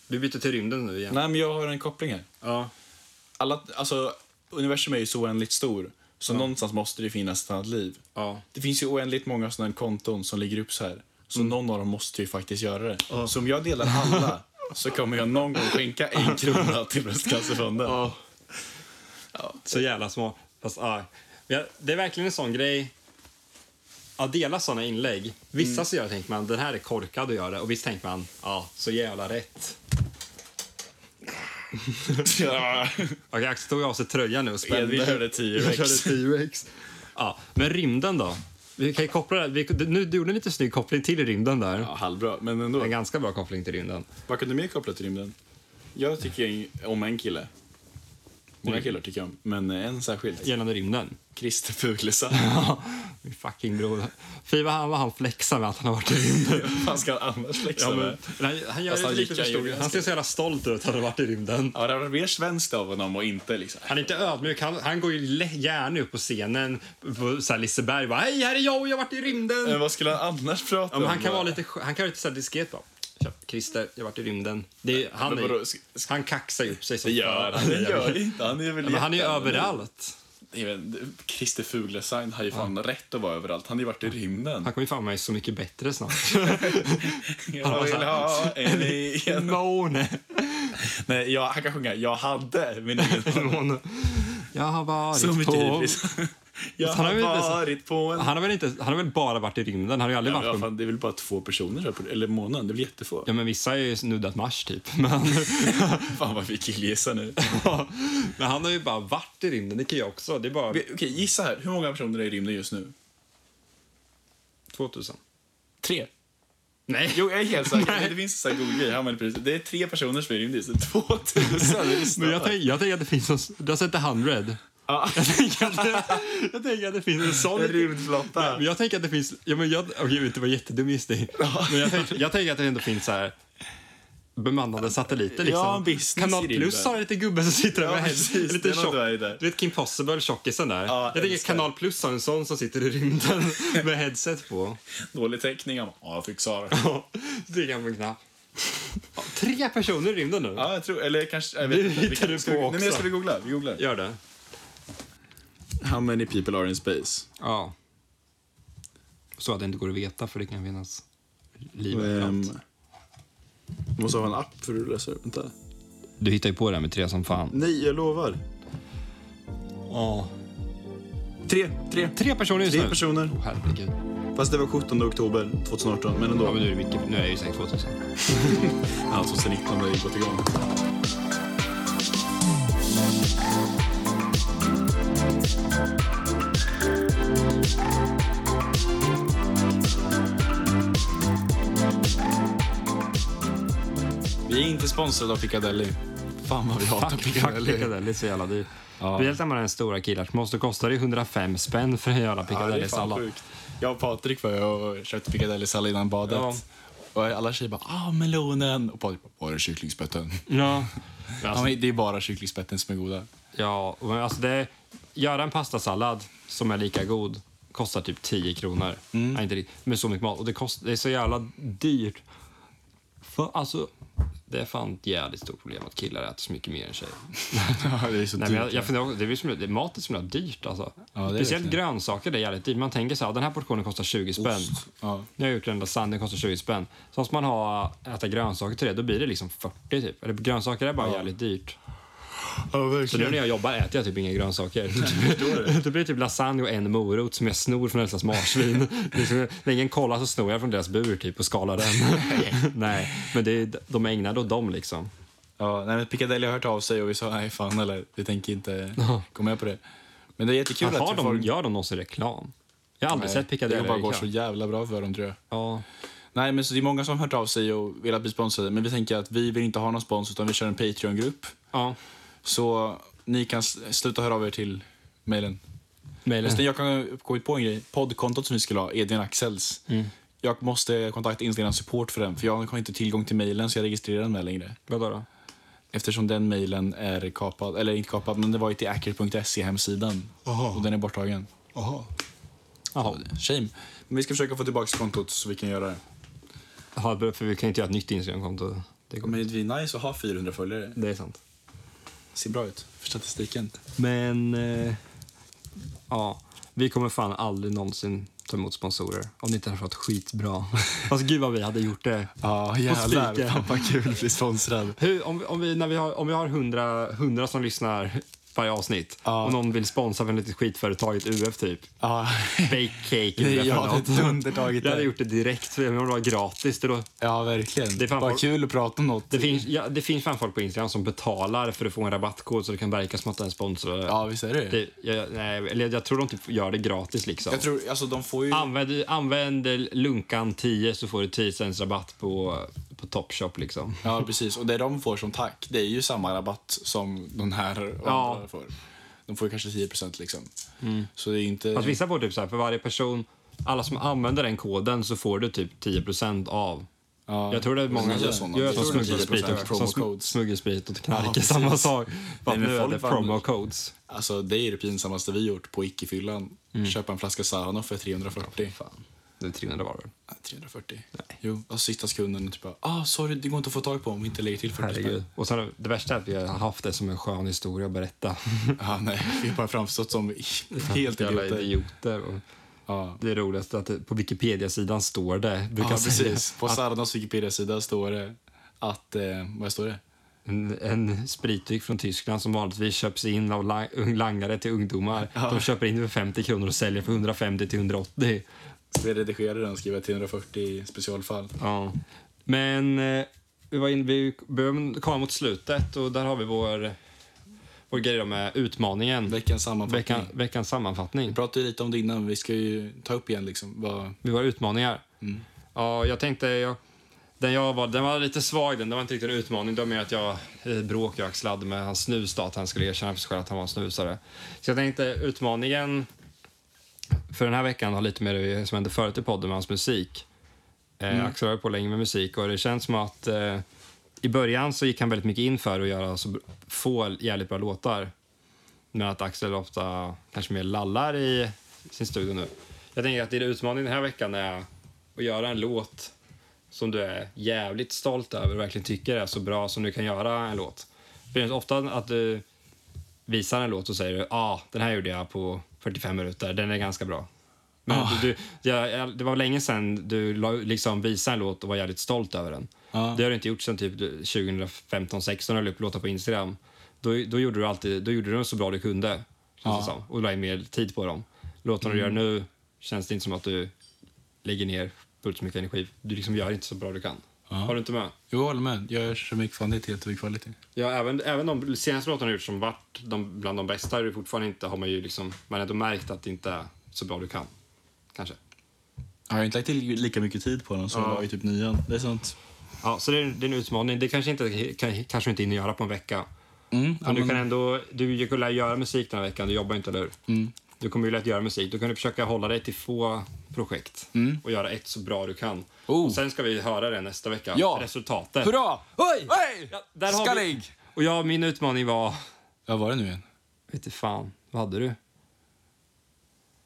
Speaker 2: Vi byter till rymden nu igen.
Speaker 1: Nej, men jag har en koppling här.
Speaker 2: Ja.
Speaker 1: Alla, alltså, universum är ju så oändligt stor, så någonstans måste det finnas ett annat liv.
Speaker 2: Ja.
Speaker 1: Det finns ju oändligt många sådana här konton som ligger upp så här, så
Speaker 2: Mm.
Speaker 1: någon av dem måste ju faktiskt göra det. Så om jag delar alla så kommer jag någon gång skänka en krona till Bröstcancerfonden.
Speaker 2: Så jävla små. Fast, ja. Men jag- Det är verkligen en sån grej. Att dela såna inlägg. Vissa så gör, tänker man, den här är korkad att göra. Och vissa tänker man, ja, så jävla rätt.
Speaker 1: Ja.
Speaker 2: Okej, Axel tog av sig tröjan nu och spände.
Speaker 1: Edvin körde
Speaker 2: <laughs> Jag
Speaker 1: 10
Speaker 2: körde T-Rex. Ja, men rymden då? Vi kan ju koppla det. Vi, nu, du gjorde en lite snygg koppling till rymden där.
Speaker 1: <laughs> Ja, halvbra, men ändå.
Speaker 2: En ganska bra koppling till rymden.
Speaker 1: Vad kan du mer koppla till rymden? Jag tycker ju om en kille. Många
Speaker 2: Mm.
Speaker 1: killar tycker jag om, men en särskilt.
Speaker 2: Gällande rymden. <laughs>
Speaker 1: Christer Fuglesang.
Speaker 2: Min fucking bror. Fy vad han, vad han flexar med att han har varit i rymden. <laughs>
Speaker 1: Vad ska han annars liksom? flexa
Speaker 2: Ja, men,
Speaker 1: med?
Speaker 2: han, han gör
Speaker 1: Fast
Speaker 2: det
Speaker 1: han
Speaker 2: lite
Speaker 1: gick-
Speaker 2: för
Speaker 1: han gjorde
Speaker 2: stor.
Speaker 1: ganska-
Speaker 2: Han ser så jävla stolt ut att han har varit i rymden.
Speaker 1: Ja, det var mer svenskt av honom och inte liksom.
Speaker 2: Han är inte ödmjuk. Han, han går ju le- gärna upp på scenen på så här Liseberg. Bara, Hej, här är jag och jag har varit i rymden.
Speaker 1: Men vad skulle han annars prata
Speaker 2: Ja, men
Speaker 1: om?
Speaker 2: han kan
Speaker 1: då?
Speaker 2: vara lite, skö- han kan vara lite så här diskret. Bara. Tja, Christer, jag varit i rymden. Det är, han,
Speaker 1: Men vadå,
Speaker 2: är,
Speaker 1: sk- sk-
Speaker 2: han kaxar ju upp sig som
Speaker 1: Det gör
Speaker 2: fan.
Speaker 1: han. Det gör inte. Han är väl
Speaker 2: Ja, men han är ju
Speaker 1: jätte-
Speaker 2: överallt.
Speaker 1: Jag vet inte, Christer Fuglesang har ju fan rätt att vara överallt. Han har ju varit i rymden. <laughs>
Speaker 2: Han kommer ju fan mig Så mycket bättre snart.
Speaker 1: Jag vill
Speaker 2: <laughs>
Speaker 1: ha en igen.
Speaker 2: Måne.
Speaker 1: Nej, jag, han kan sjunga Jag hade min egen
Speaker 2: <laughs> Måne. Jag har varit
Speaker 1: Så mycket
Speaker 2: på...
Speaker 1: hybris.
Speaker 2: <laughs>
Speaker 1: Jag
Speaker 2: Han har
Speaker 1: har
Speaker 2: ju inte så-
Speaker 1: varit på en...
Speaker 2: Han har, väl inte, han har väl bara varit i rymden? Han har ju aldrig
Speaker 1: Ja,
Speaker 2: varit
Speaker 1: men
Speaker 2: på...
Speaker 1: vad fan, det är väl bara två personer, här på- eller månaden. Det är väl jättefå.
Speaker 2: Ja, men vissa har ju snuddat Mars, typ. <laughs> Men,
Speaker 1: <laughs> Fan vad vi killgissar nu.
Speaker 2: men han har ju bara varit i rymden. Det kan jag också. Det är bara
Speaker 1: Okej, okej, gissa här. Hur många personer är i rymden just nu?
Speaker 2: 2000.
Speaker 1: Tre.
Speaker 2: <laughs> Nej.
Speaker 1: Jo, jag är helt säker. Men Det finns en sån här god grej. Han väljer precis- Det är tre personer som är i rymden just nu. 2000. är det
Speaker 2: <laughs> Men jag
Speaker 1: snart.
Speaker 2: tänker jag tänker att det finns... någon- Du har sett The 100?
Speaker 1: Ja.
Speaker 2: <laughs> Jag tänker att det, jag tänker att det finns en sån...
Speaker 1: En rymdflotta.
Speaker 2: Men jag tänker att det finns... Ja, men jag, okej, det var jättedum gissning. Men jag tänker, jag tänker att det ändå finns så här bemannade satelliter. Liksom.
Speaker 1: Ja, business
Speaker 2: Kanal
Speaker 1: i rymden.
Speaker 2: Plus har lite gubbe som sitter där
Speaker 1: Ja,
Speaker 2: med
Speaker 1: precis.
Speaker 2: händer.
Speaker 1: Det
Speaker 2: Lite
Speaker 1: är något
Speaker 2: tjock.
Speaker 1: du har i där.
Speaker 2: Du vet Kim Possible, tjockisen där.
Speaker 1: Ja,
Speaker 2: jag tänker
Speaker 1: älskar.
Speaker 2: Kanal Plus har en sån som sitter i rymden <laughs> med headset på.
Speaker 1: Dålig täckning. Ja, jag
Speaker 2: <laughs>
Speaker 1: fixar.
Speaker 2: Ja, Så trycker han på en knapp. Ja, tre personer i rymden nu.
Speaker 1: Ja, jag tror... Eller kanske... Jag vet
Speaker 2: Det
Speaker 1: inte. Vi
Speaker 2: hittar du
Speaker 1: ska
Speaker 2: på
Speaker 1: vi- Nej, men
Speaker 2: också.
Speaker 1: jag ska vi googla. Vi googlar.
Speaker 2: Gör det.
Speaker 1: How many people are in space?
Speaker 2: Ja. Så att det inte går att veta för det kan finnas liv
Speaker 1: Ehm,
Speaker 2: överallt.
Speaker 1: måste ha en app för att läsa upp. Vänta.
Speaker 2: Du hittar ju på det här med tre som fan.
Speaker 1: Nej, jag lovar.
Speaker 2: Ja.
Speaker 1: Tre, tre.
Speaker 2: Tre personer just
Speaker 1: Tre
Speaker 2: nu.
Speaker 1: personer.
Speaker 2: Åh, herregud.
Speaker 1: Fast det var 17 oktober 2018, men
Speaker 2: Ja,
Speaker 1: ändå.
Speaker 2: men nu är det mycket. Nu är det ju säkert 2000.
Speaker 1: Han som alltså, sen 19 har gått igång. Vi är inte sponsrade av Piccadilly. Fan vad vi hatar Piccadilly.
Speaker 2: Piccadilly är så jävla dyr. Speciellt när man är en stora killar som måste kosta det 105 spänn för en jävla
Speaker 1: Ja, det är fan
Speaker 2: piccadilly-sallad.
Speaker 1: sjukt. Jag och Patrik var ju och köpte piccadilly-sallad innan badet.
Speaker 2: Ja.
Speaker 1: Och alla tjejer bara “ah, melonen” och Patrik bara “var är kycklingspetten?”
Speaker 2: Ja. Men
Speaker 1: ja,
Speaker 2: Alltså,
Speaker 1: men Det är bara kycklingspetten som är goda. <laughs>
Speaker 2: ja, men alltså det, göra en pastasallad som är lika god kostar typ 10 kronor.
Speaker 1: Mm.
Speaker 2: Nej, inte riktigt, men så mycket mat. Och det, kost, det är så jävla dyrt. För, alltså, det är fan ett jävligt stort problem att killar äter så mycket mer än tjejer.
Speaker 1: ja, det är <laughs> så
Speaker 2: Nej, men
Speaker 1: dyrt.
Speaker 2: jag, jag funderar, också- det är ju som, det, mat är så himla dyrt. Alltså.
Speaker 1: Ja, det är
Speaker 2: Speciellt
Speaker 1: verkligen.
Speaker 2: grönsaker det är jävligt dyrt. Man tänker så här, den här portionen kostar 20 spänn.
Speaker 1: ja.
Speaker 2: Nu har jag gjort en lasagne, den kostar 20 spänn. Så måste man ha, äta grönsaker till det, då blir det liksom 40 typ. Eller, grönsaker är bara jävligt dyrt.
Speaker 1: ja,
Speaker 2: Så nu
Speaker 1: verkligen.
Speaker 2: när jag jobbar äter jag typ inga grönsaker. <laughs> då blir det typ lasagne och en morot som jag snor från
Speaker 1: <laughs>
Speaker 2: Elsas marsvin. liksom, när ingen kollar så snor jag från deras bur typ och skalar den. <laughs> Nej, men det är, de är ägnade åt dem liksom.
Speaker 1: Ja, nej, men Piccadilly har hört av sig och vi sa “nej, fan eller vi tänker inte gå med på det”. Men det är jättekul
Speaker 2: Men Har
Speaker 1: att vi
Speaker 2: de,
Speaker 1: får...
Speaker 2: Gör de någonsin reklam? Jag har aldrig
Speaker 1: Nej,
Speaker 2: sett Piccadilly.
Speaker 1: Det bara går
Speaker 2: reklam.
Speaker 1: så jävla bra för dem tror jag.
Speaker 2: Ja.
Speaker 1: Nej, men så det är många som har hört av sig och velat bli sponsrade. Men vi tänker att vi vill inte ha någon spons utan vi kör en Patreon-grupp.
Speaker 2: ja.
Speaker 1: Så ni kan s- sluta höra av er till mejlen. Förresten,
Speaker 2: Mailen.
Speaker 1: Eh, jag kan gå ut på en grej. Poddkontot som vi skulle ha, Edvin Axels. Jag måste kontakta Instagram support för den, för jag har inte tillgång till mejlen så jag registrerar den med längre.
Speaker 2: <laughs> Vadå då?
Speaker 1: Eftersom den mejlen är kapad, eller inte kapad, men det var ju till acker.se hemsidan. Och den är borttagen.
Speaker 2: Jaha.
Speaker 1: Shame. Men vi ska försöka få tillbaka kontot så vi kan göra det.
Speaker 2: Jaha, för vi kan ju inte göra ett nytt Instagramkonto. Det, går-
Speaker 1: Men det är nice att ha 400 följare.
Speaker 2: det är sant.
Speaker 1: Ser bra ut för statistiken.
Speaker 2: Men... Eh, ja. Vi kommer fan aldrig någonsin ta emot sponsorer om det inte hade varit skitbra. <laughs> Fast gud vad vi hade gjort det.
Speaker 1: Ja,
Speaker 2: jävlar.
Speaker 1: jävlar. Fan vad kul att bli sponsrad.
Speaker 2: Hur, om, vi- om, vi, när vi har, om vi har 100, 100 som lyssnar varje avsnitt
Speaker 1: Ja.
Speaker 2: och någon vill sponsra för ett litet skitföretag, ett UF typ.
Speaker 1: Ja.
Speaker 2: Bake
Speaker 1: <laughs>
Speaker 2: cake.
Speaker 1: Nej,
Speaker 2: UF
Speaker 1: jag
Speaker 2: eller
Speaker 1: hade
Speaker 2: något.
Speaker 1: dundertagit
Speaker 2: Jag hade
Speaker 1: det.
Speaker 2: gjort det direkt, för om det var gratis. Det, då,
Speaker 1: Ja, verkligen.
Speaker 2: Det är fan
Speaker 1: Vad
Speaker 2: folk-
Speaker 1: kul att prata om något.
Speaker 2: Det finns, ja, det finns fan folk på Instagram som betalar för att få en rabattkod så det kan verka som att den sponsrar.
Speaker 1: Ja, visst är det.
Speaker 2: Det, jag, nej, eller jag tror de typ gör det gratis liksom.
Speaker 1: Jag tror, alltså de får ju...
Speaker 2: Använd, använd lunkan 10 så får du 10 cents rabatt på, på Topshop liksom.
Speaker 1: Ja, precis. Och det de får som tack, det är ju samma rabatt som den här och
Speaker 2: Ja. Mm.
Speaker 1: andra får. De får ju kanske 10 liksom. Så det är ju inte...
Speaker 2: Fast vissa får typ så här, för varje person, alla som använder den koden så får du typ 10 av.
Speaker 1: Ja.
Speaker 2: Jag tror det är många
Speaker 1: Nya
Speaker 2: som,
Speaker 1: sådana.
Speaker 2: gör
Speaker 1: Jag
Speaker 2: som
Speaker 1: tror det är 10%
Speaker 2: smuggelsprit och, som sm-
Speaker 1: promocodes.
Speaker 2: smuggelsprit och
Speaker 1: Ja,
Speaker 2: knark är
Speaker 1: precis. <laughs>
Speaker 2: samma sak. Bara
Speaker 1: men
Speaker 2: nu är
Speaker 1: folk
Speaker 2: det
Speaker 1: vandrar-
Speaker 2: promo codes. Mm.
Speaker 1: Alltså, det är ju det pinsammaste vi gjort på icke-fyllan. Köpa en flaska Saranoff för 340.
Speaker 2: Det är 300 var väl?
Speaker 1: Nej, 340. Nej. Jo, alltså sista sekunden typ bara, ah sorry det går inte att få tag på om vi inte lägger till 40
Speaker 2: Herregud.
Speaker 1: spänn.
Speaker 2: Och sen det värsta är att vi har haft det som en skön historia att berätta.
Speaker 1: Ja, nej, <laughs> vi har bara framstått som <laughs> helt
Speaker 2: Jävla
Speaker 1: idioter.
Speaker 2: idioter. Och
Speaker 1: Ja.
Speaker 2: det roligaste är att det- på Wikipedia-sidan står det. Du
Speaker 1: ja,
Speaker 2: kan säga
Speaker 1: precis. På Sarnas Wikipedia-sida står det att, eh, vad står det?
Speaker 2: En, en spritdryck från Tyskland som vanligtvis köps in av lang- ung- langare till ungdomar. De köper in för 50 kronor och säljer för 150 till 180.
Speaker 1: Ska vi redigera den och skriva 340 specialfall?
Speaker 2: Ja. Men eh, vi, var in, vi började komma mot slutet och där har vi vår, vår grej då med utmaningen.
Speaker 1: Veckans sammanfattning.
Speaker 2: Veckan, veckans sammanfattning.
Speaker 1: Vi pratade ju lite om det innan, vi ska ju ta upp igen liksom. Vad...
Speaker 2: Vi har utmaningar. Ja, jag tänkte... Jag, den jag var, den var lite svag den, det var inte riktigt en utmaning. Det var mer att jag eh, bråk jag axlade med hans snus då, att han skulle erkänna för sig själv att han var en snusare. Så jag tänkte utmaningen för den här veckan har lite mer det som hände förut i podden med hans musik. Eh, Axel har ju på länge med musik och det känns som att eh, i början så gick han väldigt mycket in för att göra så br- få jävligt bra låtar. Men att Axel ofta kanske mer lallar i sin studio nu. Jag tänker att din utmaning den här veckan är att göra en låt som du är jävligt stolt över och verkligen tycker är så bra som du kan göra en låt. För det är ofta att du visar en låt och säger ja, ah, den här gjorde jag på 45 minuter, den är ganska bra. Men du, du, jag- jag- det var länge sedan du la- liksom visade en låt och var jävligt stolt över den.
Speaker 1: Ja.
Speaker 2: Det har du inte gjort sedan typ 2015-16 när du la upp låtar på Instagram. Då, då gjorde du alltid, då gjorde du dem så bra du kunde. Känns det som, och la in mer tid på dem. Låtarna du gör nu känns det inte som att du lägger ner fullt så mycket energi. Du liksom gör inte så bra du kan. Har du inte med?
Speaker 1: Jo, jag håller med. Jag gör så mycket kvantitet och kvalitet.
Speaker 2: Ja, även, även de senaste låtarna du gjort som varit de, bland de bästa är det fortfarande inte, har man ju liksom, man har ändå märkt att det inte är så bra du kan. Kanske.
Speaker 1: Jag har inte lagt till lika mycket tid på den som jag la i typ nian. Det är sant.
Speaker 2: Ja, så det är, det är en utmaning. Det kanske, inte, kan, kanske du inte hinner göra på en vecka.
Speaker 1: Mm,
Speaker 2: men du kan ändå, du kommer lära göra musik den här veckan, du jobbar ju inte, eller hur?
Speaker 1: Mm.
Speaker 2: Du kommer ju lätt göra musik. Då kan du försöka hålla dig till få projekt och göra ett så bra du kan.
Speaker 1: Mm. Oh.
Speaker 2: Och sen ska vi höra det nästa vecka,
Speaker 1: Ja.
Speaker 2: resultatet.
Speaker 1: Hurra! Oj! Oj!
Speaker 2: Ja, där har vi- Och jag, min utmaning var,
Speaker 1: Vad var det nu igen?
Speaker 2: vet du fan, vad hade du?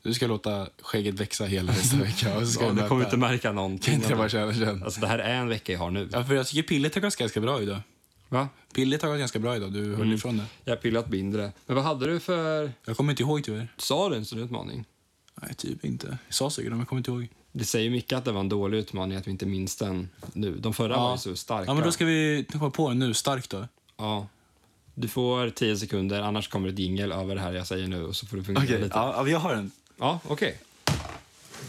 Speaker 1: Du ska låta skägget växa hela <laughs> nästa vecka. Och så ska
Speaker 2: Ja,
Speaker 1: vi
Speaker 2: du
Speaker 1: möta-
Speaker 2: kommer inte märka någonting.
Speaker 1: Kan inte det vara känna känn?
Speaker 2: Alltså det här är en vecka jag har nu.
Speaker 1: Ja, för jag tycker pillet har gått ganska bra idag.
Speaker 2: Va?
Speaker 1: Pillet har gått ganska bra idag. Du höll ifrån det.
Speaker 2: Jag har pillat mindre. Men vad hade du för...
Speaker 1: Jag kommer inte ihåg tyvärr.
Speaker 2: Sa du en sån utmaning?
Speaker 1: Nej, typ inte. Jag sa säkert men jag kommer inte ihåg.
Speaker 2: Det säger mycket att det var en dålig utmaning att vi inte minns den nu. De förra var ju så starka.
Speaker 1: Ja, men då ska vi komma på en nu. Stark då.
Speaker 2: Ja. Du får 10 sekunder, annars kommer ett jingel över det här jag säger nu och så får du fundera lite. Ja,
Speaker 1: jag har en.
Speaker 2: okej.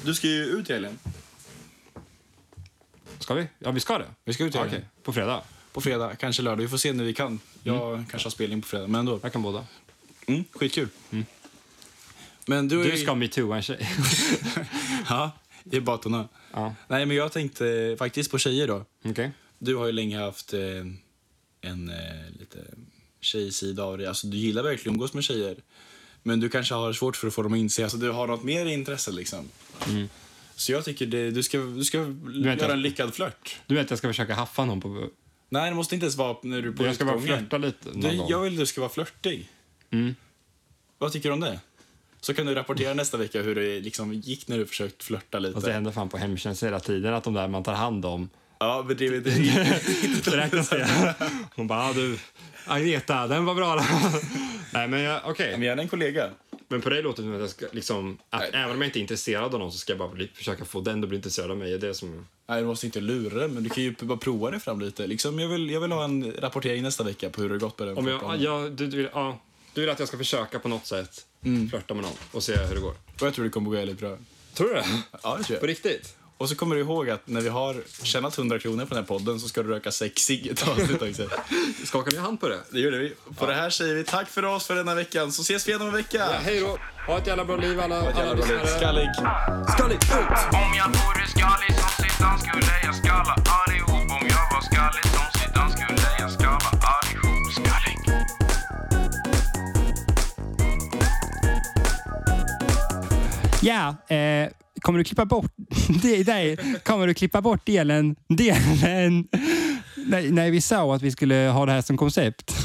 Speaker 1: Du ska ju ut i helgen.
Speaker 2: Ska vi? Ja, vi ska det.
Speaker 1: Vi ska ut i
Speaker 2: Ja,
Speaker 1: helgen.
Speaker 2: okej. På fredag.
Speaker 1: På fredag, kanske lördag. Vi får se när vi kan. Jag kanske har spelning på fredag, men ändå.
Speaker 2: Jag kan båda.
Speaker 1: Mm, skitkul. Men du, är-
Speaker 2: Du ska metooa en tjej.
Speaker 1: <laughs> Ja, det är batorna.
Speaker 2: Ja.
Speaker 1: Nej, men jag tänkte faktiskt på tjejer då.
Speaker 2: Okej.
Speaker 1: Du har ju länge haft eh, en eh, lite tjejsida av dig. Alltså, du gillar verkligen att umgås med tjejer. Men du kanske har svårt för att få dem att inse. Alltså, du har något mer intresse liksom.
Speaker 2: Mm.
Speaker 1: Så jag tycker det, du ska, du ska
Speaker 2: vänta.
Speaker 1: göra en lyckad flört.
Speaker 2: Du vet att jag ska försöka haffa någon på... Alltså,
Speaker 1: Nej, det måste inte ens vara när du är på
Speaker 2: Jag ska bara
Speaker 1: utgången.
Speaker 2: flörta lite någon
Speaker 1: Du,
Speaker 2: gång. Mm.
Speaker 1: jag vill att du ska vara flörtig. Vad tycker du om det? Så kan du
Speaker 2: <laughs>
Speaker 1: rapportera nästa vecka hur det liksom gick när du försökt flörta lite.
Speaker 2: Fast det händer fan på hemtjänst hela tiden att de där man tar hand om
Speaker 1: Ja, men
Speaker 2: <laughs>
Speaker 1: det, det,
Speaker 2: Det räknas det. Hon bara, ah, du, Agneta, den var bra. <laughs> Nej, men jag- okej.
Speaker 1: Men jag är en kollega.
Speaker 2: Men på dig låter det som att jag ska, liksom, att även om jag inte är intresserad av någon så ska jag bara bli, försöka få den att bli intresserad av mig. Det är det som...
Speaker 1: Nej, du måste inte lura det, men du kan ju bara prova det fram lite. Liksom, jag, vill, jag vill ha en rapportering nästa vecka på hur det har gått med den
Speaker 2: Om jag,
Speaker 1: flörtplanen.
Speaker 2: ja, du, du, vill, ja, du vill att jag ska försöka på något sätt flörta med någon och se hur det går.
Speaker 1: Och jag tror det kommer gå jävligt bra.
Speaker 2: Mm. Tror du det?
Speaker 1: Ja, det tror
Speaker 2: På
Speaker 1: jag.
Speaker 2: riktigt?
Speaker 1: Och så kommer du ihåg att när vi har tjänat 100 kronor på den här podden så ska du röka sex cigg i ett avsnitt också.
Speaker 2: Skakar vi hand på det?
Speaker 1: Det gjorde vi. På det här säger vi tack för oss för denna veckan, så ses vi igen om en
Speaker 2: Ja,
Speaker 1: vecka.
Speaker 2: hej då! Ha ett jävla bra liv alla, alla lyssnare.
Speaker 1: Skallig.
Speaker 2: Skallig ut!
Speaker 4: Om jag vore skallig som Zidane skulle jag skalla allihop Om jag var skallig som Zidane skulle jag skalla allihop Skallig
Speaker 7: Ja, eh, kommer du klippa bort <laughs> det, nej, Kommer du klippa <laughs> bort delen, delen när, när vi sa att vi skulle ha det här som koncept?